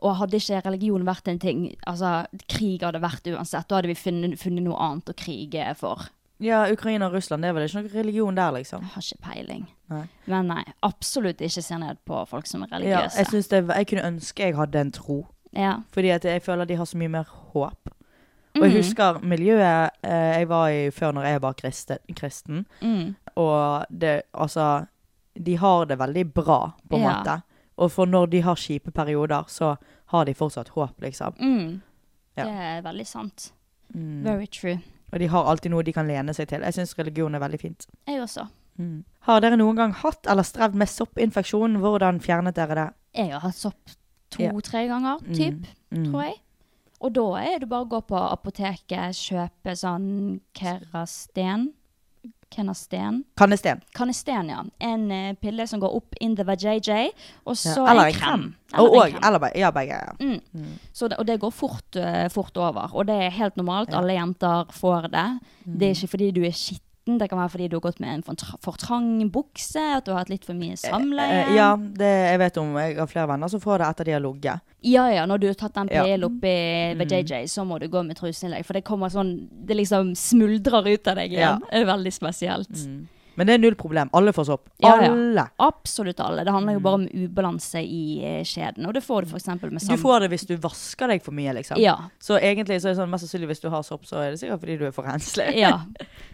Speaker 1: Og hadde ikke religion vært en ting, altså krig hadde vært uansett, da hadde vi funnet, funnet noe annet å krige for.
Speaker 2: Ja, Ukraina og Russland, det er vel ikke noe religion der, liksom.
Speaker 1: Jeg har ikke peiling.
Speaker 2: Nei.
Speaker 1: Men nei, absolutt ikke se ned på folk som er
Speaker 2: Ja, jeg,
Speaker 1: religiøse.
Speaker 2: synes det, jeg kunne ønske jeg hadde en tro.
Speaker 1: Ja.
Speaker 2: Fordi at jeg føler de har så mye mer håp. Og
Speaker 1: Mm.
Speaker 2: jeg husker miljøet eh, jeg var i før når jeg var kristen, kristen.
Speaker 1: Mm.
Speaker 2: og det, altså, de har det veldig bra, på en
Speaker 1: Ja.
Speaker 2: måte. Og for når de har kjipe perioder, så har de fortsatt håp, liksom.
Speaker 1: Mm.
Speaker 2: Ja. Mm.
Speaker 1: Det er veldig sant. Very true.
Speaker 2: Og de har alltid noe de kan lene seg til. Jeg syns religion er veldig fint.
Speaker 1: Jeg også.
Speaker 2: Har dere noen gang hatt eller strevd med soppinfeksjon? Hvordan fjernet dere det?
Speaker 1: Jeg har hatt sopp
Speaker 2: Ja. Mm.
Speaker 1: to-tre ganger, typ, tror jeg. Og da er det bare å gå på apoteket, kjøpe sånn Kerasten. Kenasten.
Speaker 2: Kannesten.
Speaker 1: Kanesten, ja. En eh, pille som går opp in the vajayjay, og
Speaker 2: Ja.
Speaker 1: så
Speaker 2: Eller
Speaker 1: en krem.
Speaker 2: Og,
Speaker 1: Eller en
Speaker 2: og,
Speaker 1: krem.
Speaker 2: eller be- ja, begge. Ja.
Speaker 1: Mm. Så det, og det går fort, eh, fort over. Og det er helt normalt. Alle jenter får det. Det
Speaker 2: Mm.
Speaker 1: er ikke fordi du er skitten, det kan være fordi du har gått med en for tra- for trang bukse, at du har hatt litt for mye samleie.
Speaker 2: Eh, ja, det, jeg vet om jeg har flere venner som får det etter de har ligget.
Speaker 1: Ja, ja, når du har tatt den
Speaker 2: Ja. Mm.
Speaker 1: pilen oppi ved JJ, så må du gå med truseinnlegg. For det kommer sånn Det liksom smuldrer ut av deg
Speaker 2: Ja. Mm.
Speaker 1: igjen. Det er veldig spesielt.
Speaker 2: Men det er null problem. Alle får sopp.
Speaker 1: Ja, ja.
Speaker 2: Alle.
Speaker 1: Absolutt alle. Det
Speaker 2: Mm.
Speaker 1: handler jo bare om ubalanse i eh, skjeden. Og det får du f.eks. med
Speaker 2: Du
Speaker 1: sam...
Speaker 2: får det hvis du vasker deg for mye, liksom.
Speaker 1: Ja.
Speaker 2: (laughs) Så egentlig så er det sånn, mest sannsynlig hvis du har sopp, så er det sikkert fordi du er for renslig.
Speaker 1: ja.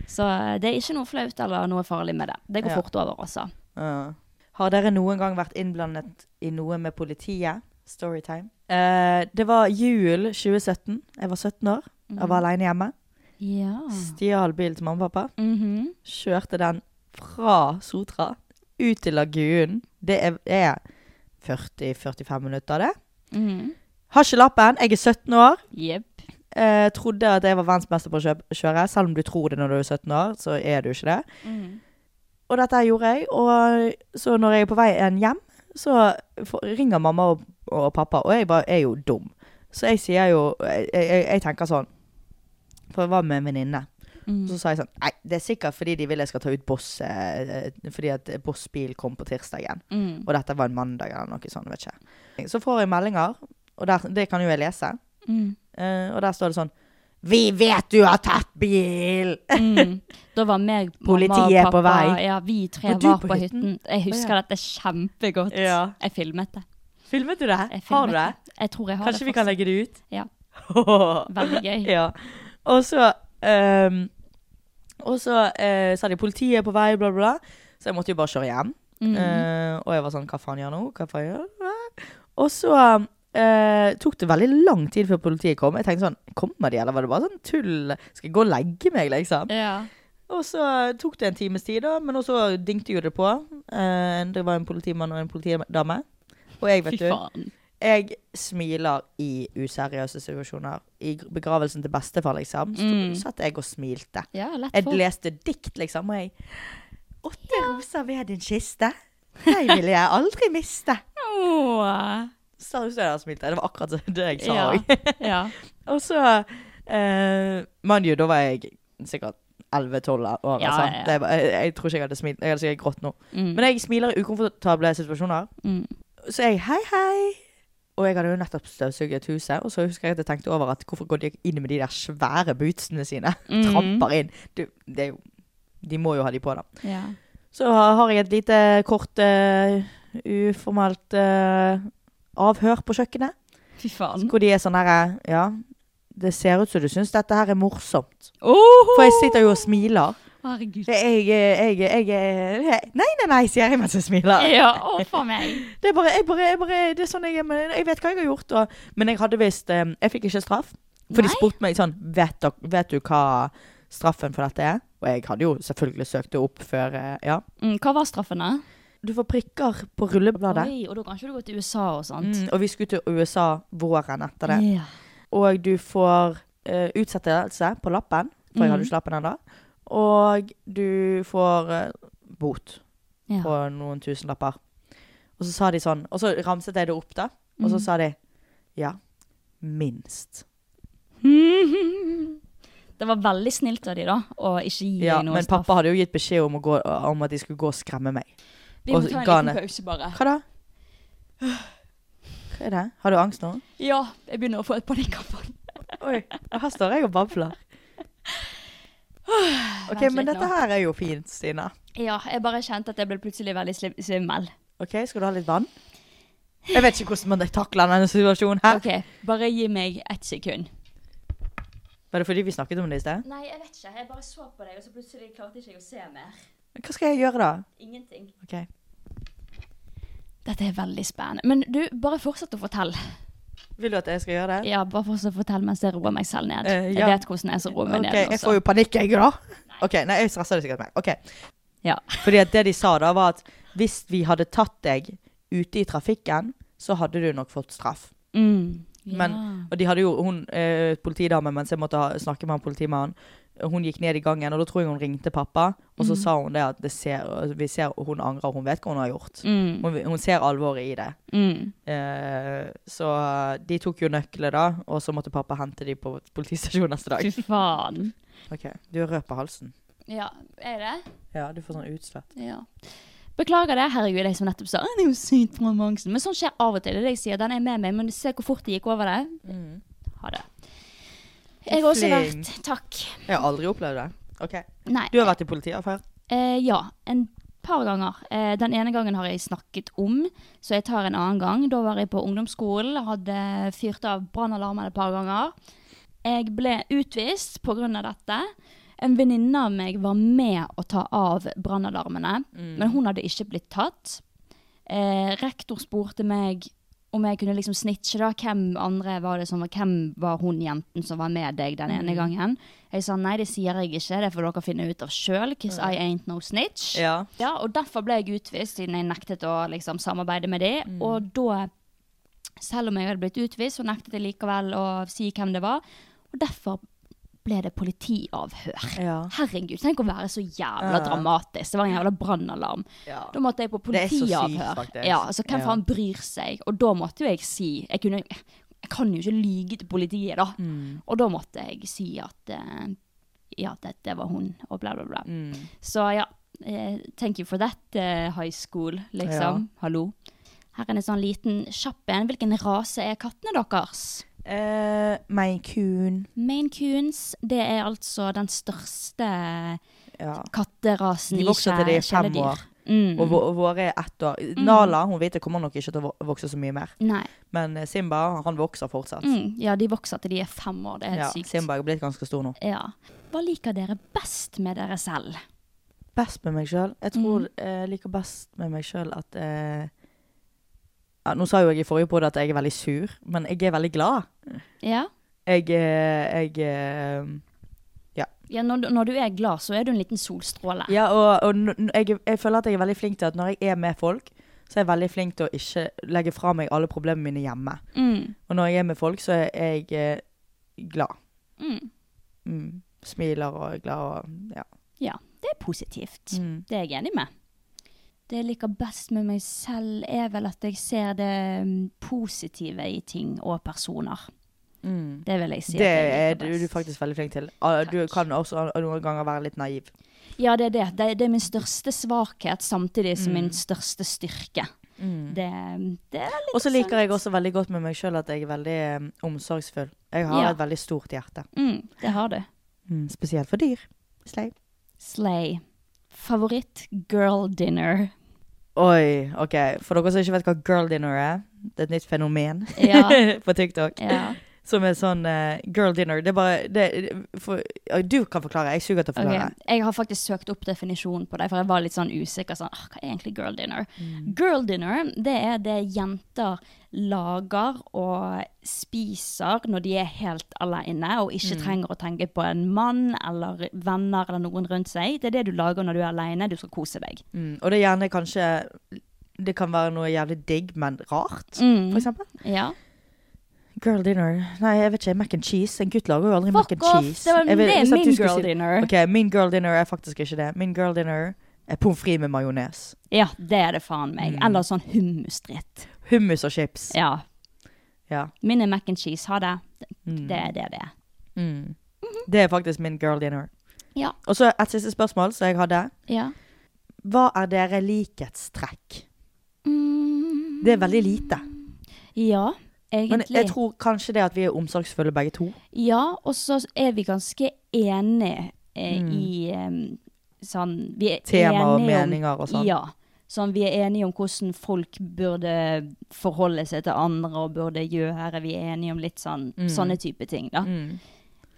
Speaker 1: Så eh, det er ikke noe flaut eller noe farlig med det. Det går
Speaker 2: Ja.
Speaker 1: fort over, altså.
Speaker 2: Ja. Har dere noen gang vært innblandet i noe med politiet? Storytime. Eh, det var jul 2017. Jeg var 17 år. Jeg
Speaker 1: Mhm.
Speaker 2: var alene hjemme.
Speaker 1: Ja.
Speaker 2: Stjal bilen til mamma og pappa.
Speaker 1: mhm.
Speaker 2: Kjørte den fra Sotra ut til Lagunen. Det er, er 40-45 minutter, det.
Speaker 1: Mhm.
Speaker 2: Har ikke lappen. Jeg er 17 år.
Speaker 1: Jepp.
Speaker 2: eh, trodde at jeg var verdensmester på å kjøp- kjøre. Selv om du tror det når du er 17 år, så er du ikke det. Mm. Og dette her gjorde jeg. Og så når jeg er på vei en hjem, så får- ringer mamma og, og pappa, og jeg bare er jo dum. Så jeg sier jo Jeg, jeg, jeg tenker sånn For jeg var med en venninne. Og Så sa jeg sånn Nei, det er sikkert fordi de vil jeg skal ta ut Boss eh, eh, Fordi at Boss bil kom på tirsdagen.
Speaker 1: Mm.
Speaker 2: Og dette var en mandag eller noe sånt. vet ikke Så får jeg meldinger, og der, det kan jo jeg lese.
Speaker 1: Mm.
Speaker 2: Eh, og der står det sånn Vi vet du har tatt bil! (laughs)
Speaker 1: Da var meg,
Speaker 2: Politiet
Speaker 1: mamma
Speaker 2: er
Speaker 1: og
Speaker 2: på
Speaker 1: pappa
Speaker 2: vei.
Speaker 1: Ja, vi tre
Speaker 2: Var du
Speaker 1: var
Speaker 2: på
Speaker 1: på,
Speaker 2: hytten?
Speaker 1: hytten. Jeg husker
Speaker 2: Å, ja.
Speaker 1: dette kjempegodt.
Speaker 2: Ja.
Speaker 1: Jeg filmet det.
Speaker 2: Filmet du det?
Speaker 1: Jeg filmet
Speaker 2: Har du det?
Speaker 1: Jeg tror jeg har
Speaker 2: Kanskje
Speaker 1: det.
Speaker 2: vi kan legge det ut?
Speaker 1: Ja. (laughs)
Speaker 2: Veldig (laughs)
Speaker 1: Veldig gøy.
Speaker 2: ja. Og så ehm, Og så eh, sa de politiet er på vei, bla, bla. bla. Så jeg måtte jo bare kjøre hjem.
Speaker 1: Mhm.
Speaker 2: Eh, og jeg var sånn Hva faen gjør jeg nå? Hva faen gjør jeg? Og så eh, tok det veldig lang tid før politiet kom. Jeg tenkte sånn Kommer de, eller var det bare sånn tull? Skal jeg gå og legge meg, liksom?
Speaker 1: Ja.
Speaker 2: Og så tok det en times tid, da, men også dingte jo det på. Eh, Det var en politimann og en politidame. Og jeg,
Speaker 1: Fy
Speaker 2: vet du,
Speaker 1: faen.
Speaker 2: jeg smiler i useriøse situasjoner. I gr- begravelsen til bestefar, liksom, så satt jeg og smilte.
Speaker 1: Mm. Ja, lett
Speaker 2: Jeg
Speaker 1: for.
Speaker 2: leste dikt, liksom, og jeg Åtte roser ved din kiste. Deg vil jeg aldri miste.
Speaker 1: Åh.
Speaker 2: Seriøst, jeg smilte. Det var akkurat det jeg sa
Speaker 1: Ja.
Speaker 2: òg.
Speaker 1: ja.
Speaker 2: Og så eh, Men jo, da var jeg sikkert 11-12 år.
Speaker 1: Ja,
Speaker 2: altså.
Speaker 1: ja, ja.
Speaker 2: Det var, jeg, jeg tror ikke jeg hadde smilt. Jeg hadde sikkert grått nå.
Speaker 1: Mm.
Speaker 2: Men jeg smiler i ukomfortable situasjoner. Så jeg hei, hei. Og jeg hadde jo nettopp støvsuget huset, og så husker jeg at jeg tenkte over at hvorfor går de ikke inn med de der svære bootsene sine? (laughs)
Speaker 1: Mm. Mhm.
Speaker 2: Tramper inn. Du, det er jo, de må jo ha de på, da.
Speaker 1: ja.
Speaker 2: Så har jeg et lite kort eh, uformelt eh, avhør på kjøkkenet.
Speaker 1: Fy faen.
Speaker 2: Hvor de er sånn herre Ja, det ser ut som du syns dette her er morsomt.
Speaker 1: Åh.
Speaker 2: For jeg sitter jo og smiler.
Speaker 1: Herregud.
Speaker 2: Jeg, jeg, jeg, jeg Nei, nei, nei, sier jeg mens jeg smiler.
Speaker 1: Ja, å, for meg.
Speaker 2: Det er bare, jeg bare, jeg bare Det er sånn jeg er. Men jeg vet hva jeg har gjort. Og, men jeg hadde visst eh, Jeg fikk ikke straff. For de
Speaker 1: Nei.
Speaker 2: spurte meg sånn vet, dere- vet du hva straffen for dette er? Og jeg hadde jo selvfølgelig søkt det opp før eh, Ja.
Speaker 1: Mm, hva var straffen, da?
Speaker 2: Du får prikker på rullebladet.
Speaker 1: Oi, og da kan ikke du gå til USA og sånt.
Speaker 2: Mm, og vi skulle til USA våren etter det.
Speaker 1: Ja.
Speaker 2: Og du får eh, utsettelse på lappen, for jeg
Speaker 1: Mhm.
Speaker 2: hadde ikke lappen ennå. Og du får eh, bot på
Speaker 1: Ja.
Speaker 2: noen tusenlapper. Og så sa de sånn, og så ramset jeg det opp, da. Og
Speaker 1: Mhm.
Speaker 2: så sa de ja, minst.
Speaker 1: (laughs) Det var veldig snilt av de da, å ikke gi
Speaker 2: Ja,
Speaker 1: deg noe
Speaker 2: men
Speaker 1: straff.
Speaker 2: pappa hadde jo gitt beskjed om, å gå, om at de skulle gå og skremme meg.
Speaker 1: Vi må
Speaker 2: og
Speaker 1: ta en
Speaker 2: ga
Speaker 1: liten
Speaker 2: ned.
Speaker 1: pause, bare.
Speaker 2: Hva da? Hva er det? Har du angst nå?
Speaker 1: Ja, jeg begynner å få et panikkanfall.
Speaker 2: Oi, her står jeg og babler. OK,
Speaker 1: Vent
Speaker 2: men
Speaker 1: litt
Speaker 2: dette
Speaker 1: nå.
Speaker 2: her er jo fint, Stina.
Speaker 1: Ja, jeg bare kjente at jeg ble plutselig veldig slim- svimmel.
Speaker 2: Ok, skal du ha litt vann? Jeg vet ikke hvordan man takler denne situasjonen her.
Speaker 1: Ok, bare gi meg ett sekund.
Speaker 2: Var det fordi vi snakket om det i sted?
Speaker 1: Nei, jeg vet ikke. Jeg bare så på deg, og så plutselig klarte ikke jeg å se mer.
Speaker 2: Hva skal jeg gjøre da?
Speaker 1: Ingenting.
Speaker 2: Ok.
Speaker 1: Dette er veldig spennende. Men du, bare fortsett å fortelle.
Speaker 2: Vil du at jeg skal gjøre det?
Speaker 1: Ja, bare fortsett å fortelle mens jeg roer meg selv ned.
Speaker 2: Eh, ja.
Speaker 1: Jeg vet hvordan jeg så roer meg
Speaker 2: Ok,
Speaker 1: ned
Speaker 2: jeg
Speaker 1: også.
Speaker 2: får jo panikk, jeg da. Ok, nei, jeg stresser det sikkert meg. Ok,
Speaker 1: Ja.
Speaker 2: fordi at det de sa da var at hvis vi hadde tatt deg ute i trafikken, så hadde du nok fått straff.
Speaker 1: Mm.
Speaker 2: Men, og de hadde jo, hun, eh, politidame, mens jeg måtte ha, snakke med han politimannen, hun gikk ned i gangen, og da tror jeg hun ringte pappa, og så sa hun det at det ser, vi ser, hun angrer, hun vet hva hun har gjort. Hun, hun ser alvoret i det.
Speaker 1: Mm.
Speaker 2: Eh, så de tok jo nøklene da, og så måtte pappa hente de på politistasjonen
Speaker 1: (laughs)
Speaker 2: neste dag.
Speaker 1: Fy faen.
Speaker 2: Ok, du har rød på halsen.
Speaker 1: Ja, er det?
Speaker 2: Ja, du får sånn utslett.
Speaker 1: Ja. Beklager det, herregud, jeg som nettopp sa «Å, det er jo sykt fra angsten. Men sånn skjer av og til. Det er det jeg sier. Den er med meg, men se hvor fort det gikk over det. Ha det. Jeg har også
Speaker 2: Mm. Flink.
Speaker 1: vært Takk.
Speaker 2: Jeg har aldri opplevd det. Ok.
Speaker 1: Nei.
Speaker 2: Du har vært i politiavhør.
Speaker 1: Eh, ja, en par ganger. Eh, den ene gangen har jeg snakket om, så jeg tar en annen gang. Da var jeg på ungdomsskolen, hadde fyrt av brannalarmen et par ganger. Jeg ble utvist pga. dette. En venninne av meg var med å ta av brannalarmene, men hun hadde ikke blitt tatt. Eh, rektor spurte meg om jeg kunne liksom snitche da, hvem andre var det som var, hvem var hun jenten som var med deg den ene gangen. Jeg sa nei, det sier jeg ikke, det får dere finne ut av sjøl, because I ain't no snitch.
Speaker 2: Ja.
Speaker 1: Ja, og derfor ble jeg utvist, siden jeg nektet å liksom, samarbeide med dem.
Speaker 2: Mm.
Speaker 1: Og da, selv om jeg hadde blitt utvist, så nektet jeg likevel å si hvem det var. Og derfor ble det politiavhør.
Speaker 2: Ja.
Speaker 1: Herregud, tenk å være så jævla dramatisk. Det var en jævla brannalarm.
Speaker 2: Ja.
Speaker 1: Da måtte jeg på
Speaker 2: Det er så sykt,
Speaker 1: politiavhør.
Speaker 2: faktisk.
Speaker 1: Ja, altså hvem
Speaker 2: Ja.
Speaker 1: faen bryr seg? Og da måtte jo jeg si Jeg, kunne, jeg kan jo ikke lyge til politiet, da.
Speaker 2: Mm.
Speaker 1: Og da måtte jeg si at eh, ja, dette var hun, og bla, bla, bla.
Speaker 2: Mm.
Speaker 1: Så ja, eh, thank you for that, eh, high school, liksom. Hallo. Her er en sånn liten kjapp en. Hvilken rase er kattene deres?
Speaker 2: Eh, Maine Coon.
Speaker 1: Maine Coons, det er altså den største
Speaker 2: Ja.
Speaker 1: katterasen
Speaker 2: De
Speaker 1: i
Speaker 2: vokser til de er fem
Speaker 1: kjæledyr.
Speaker 2: år.
Speaker 1: Mm.
Speaker 2: Og vå- våre er ett år. Nala hun vet jeg kommer nok ikke til å vå- vokse så mye mer.
Speaker 1: Nei.
Speaker 2: Men eh, Simba han vokser fortsatt.
Speaker 1: Mm, ja, de vokser til de er fem år. Det er helt
Speaker 2: Ja,
Speaker 1: sykt.
Speaker 2: Simba er blitt ganske stor nå.
Speaker 1: Ja. Hva liker dere best med dere selv?
Speaker 2: Best med meg sjøl? Jeg tror
Speaker 1: Mm.
Speaker 2: eh, jeg liker best med meg sjøl at eh, ja, Nå sa jo jeg i forrige podkast at jeg er veldig sur, men jeg er veldig glad.
Speaker 1: Ja.
Speaker 2: Jeg, eh, jeg eh, Ja.
Speaker 1: Ja, når, du- når du er glad, så er du en liten solstråle.
Speaker 2: Ja, og, og n- n- jeg, jeg føler at jeg er veldig flink til at når jeg er med folk, så er jeg veldig flink til å ikke legge fra meg alle problemene mine hjemme.
Speaker 1: Mm,
Speaker 2: Og når jeg er med folk, så er jeg eh, glad.
Speaker 1: mm.
Speaker 2: Mm. Smiler og er glad og ja.
Speaker 1: ja, det er positivt.
Speaker 2: Mm.
Speaker 1: Det er jeg enig med. Det jeg liker best med meg selv, er vel at jeg ser det mm, positive i ting og personer. Det vil jeg si. Mm. at
Speaker 2: Det
Speaker 1: jeg
Speaker 2: er
Speaker 1: liker
Speaker 2: du,
Speaker 1: best.
Speaker 2: du faktisk veldig flink til. Ah, Du
Speaker 1: Takk.
Speaker 2: kan også ah, noen ganger være litt naiv.
Speaker 1: Ja, det er det. Det, det er min største svakhet, samtidig som min største styrke. Det, mm, det er litt
Speaker 2: Mm. Og så liker jeg også veldig godt med meg sjøl at jeg er veldig eh, omsorgsfull. Jeg har
Speaker 1: Ja.
Speaker 2: et veldig stort hjerte.
Speaker 1: mm, Det har du.
Speaker 2: Mm. Spesielt for dyr. Slay.
Speaker 1: Slay. Favoritt girl
Speaker 2: (laughs)
Speaker 1: dinner.
Speaker 2: Oi, ok. For dere som ikke vet hva girl dinner er, det er et nytt fenomen
Speaker 1: Ja.
Speaker 2: (laughs) på TikTok.
Speaker 1: ja.
Speaker 2: Som er sånn eh, girl dinner. Det er bare det, for, ja, Du kan forklare, jeg suger til å
Speaker 1: Ok,
Speaker 2: forklare.
Speaker 1: Jeg har faktisk søkt opp definisjonen på det, for jeg var litt sånn usikker. Sånn, «Åh, hva er egentlig girl dinner? Girl dinner det er det jenter lager og spiser når de er helt alene og ikke trenger å tenke på en mann eller venner eller noen rundt seg. Det er det du lager når du er alene, du skal kose deg.
Speaker 2: Mm. Og det er gjerne kanskje Det kan være noe jævlig digg, men rart,
Speaker 1: Mm.
Speaker 2: for eksempel.
Speaker 1: Ja.
Speaker 2: Girl dinner. Nei, jeg vet ikke. Mac and cheese. En gutt lager jo aldri
Speaker 1: Fuck
Speaker 2: mac and
Speaker 1: off,
Speaker 2: cheese.
Speaker 1: det var-
Speaker 2: Jeg vil-
Speaker 1: det er
Speaker 2: jeg sa at
Speaker 1: min
Speaker 2: du skulle
Speaker 1: girl dinner.
Speaker 2: Ok, Min girl dinner er faktisk ikke det. Min girl dinner er pommes frites med majones.
Speaker 1: ja, det er det faen meg. Eller sånn hummusdritt.
Speaker 2: Hummus og chips.
Speaker 1: Ja.
Speaker 2: Ja.
Speaker 1: Min er mac and cheese, ha det. Det er det det er.
Speaker 2: Mm. Det er faktisk min girl dinner.
Speaker 1: Ja.
Speaker 2: Og så et siste spørsmål som jeg hadde.
Speaker 1: ja.
Speaker 2: Hva er dere likhetstrekk?
Speaker 1: Mm,
Speaker 2: Det er veldig lite.
Speaker 1: ja,
Speaker 2: Men
Speaker 1: egentlig.
Speaker 2: jeg tror kanskje det at vi er omsorgsfulle begge to.
Speaker 1: Ja, og så er vi ganske enige eh, i em, sånn vi er
Speaker 2: Mm. Tema og
Speaker 1: enige
Speaker 2: meninger og sånn.
Speaker 1: Ja. Sånn, vi er enige om hvordan folk burde forholde seg til andre og burde gjøre. Vi er enige om litt sånn,
Speaker 2: Mm.
Speaker 1: sånne type ting, da.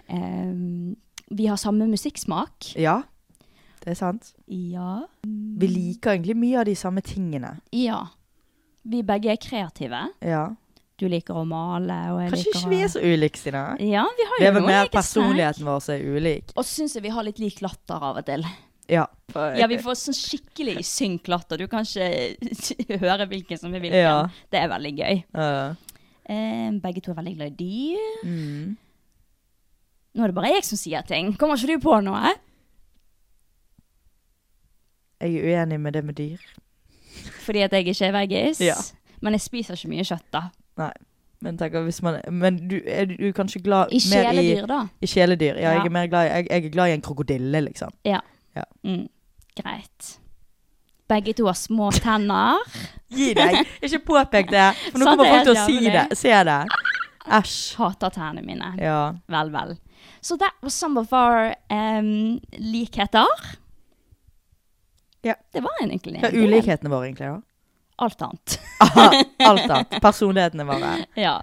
Speaker 1: Em, vi har samme musikksmak.
Speaker 2: Ja, det er sant.
Speaker 1: Ja.
Speaker 2: Vi liker egentlig mye av de samme tingene.
Speaker 1: ja. Vi begge er kreative.
Speaker 2: Ja.
Speaker 1: Du liker å male, og jeg
Speaker 2: Kanskje
Speaker 1: liker
Speaker 2: ikke vi er så ulike, Stina.
Speaker 1: Ja, vi har jo
Speaker 2: Det er vel
Speaker 1: noen
Speaker 2: mer
Speaker 1: like
Speaker 2: personligheten
Speaker 1: snakk.
Speaker 2: vår som er ulik.
Speaker 1: Og syns jeg vi har litt lik latter av og til.
Speaker 2: Ja.
Speaker 1: Ja, vi får sånn skikkelig i synk latter. Du kan ikke (laughs) høre hvilken som er hvilken.
Speaker 2: Ja.
Speaker 1: Det er veldig gøy.
Speaker 2: Ja.
Speaker 1: Eh, begge to er veldig glad i dyr. Nå er det bare jeg som sier ting. Kommer ikke du på noe?
Speaker 2: jeg er uenig med det med dyr.
Speaker 1: Fordi at jeg ikke er veggis.
Speaker 2: Ja.
Speaker 1: Men jeg spiser ikke mye kjøtt, da.
Speaker 2: Nei. Men, tenker, hvis man, men du er du er kanskje glad
Speaker 1: I
Speaker 2: mer i,
Speaker 1: kjæledyr, da.
Speaker 2: i kjæledyr. Ja,
Speaker 1: Ja.
Speaker 2: Jeg, er mer glad i, jeg, jeg er glad i en krokodille, liksom.
Speaker 1: Ja.
Speaker 2: Ja.
Speaker 1: Mm. Greit. Begge to har små tenner. (laughs)
Speaker 2: Gi deg! (laughs) Ikke påpek det, for nå
Speaker 1: Sant,
Speaker 2: kommer
Speaker 1: det Sånn er
Speaker 2: folk til å
Speaker 1: jævlig.
Speaker 2: si det. Se det. Æsj.
Speaker 1: Hater tennene mine.
Speaker 2: Ja.
Speaker 1: Vel, vel. So that was some of our em, likheter.
Speaker 2: Ja.
Speaker 1: Det var egentlig
Speaker 2: Hva er ulikhetene våre, egentlig? da?
Speaker 1: Alt annet.
Speaker 2: Aha, alt annet. Personlighetene våre.
Speaker 1: (laughs) ja.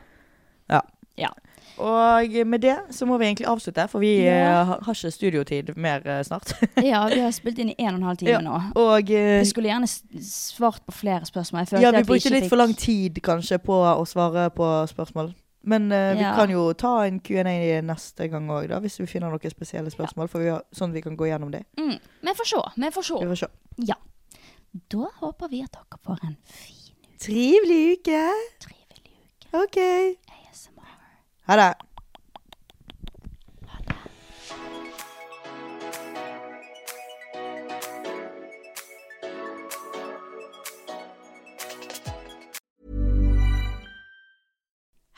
Speaker 2: Ja.
Speaker 1: Ja.
Speaker 2: Og med det så må vi egentlig avslutte, for vi
Speaker 1: Ja.
Speaker 2: eh, har- har ikke studiotid mer eh, snart. (laughs)
Speaker 1: ja, vi har spilt inn i en og en halv time
Speaker 2: Ja,
Speaker 1: nå.
Speaker 2: Og eh,
Speaker 1: Jeg skulle gjerne s- svart på flere spørsmål. Jeg følte
Speaker 2: ja, vi
Speaker 1: at vi
Speaker 2: brukte
Speaker 1: ikke
Speaker 2: litt
Speaker 1: fikk...
Speaker 2: for lang tid kanskje på å svare på spørsmål. Men eh, vi
Speaker 1: Ja.
Speaker 2: kan jo ta en Q&A neste gang òg, hvis vi finner noen spesielle spørsmål. For vi har, sånn at vi kan gå gjennom det.
Speaker 1: Mm, vi får se. Vi får
Speaker 2: Vi
Speaker 1: se.
Speaker 2: får se.
Speaker 1: Ja. Da håper vi at dere får en fin,
Speaker 2: Trivelig uke!
Speaker 1: trivelig uke.
Speaker 2: OK.
Speaker 1: ASMR.
Speaker 2: Ha det.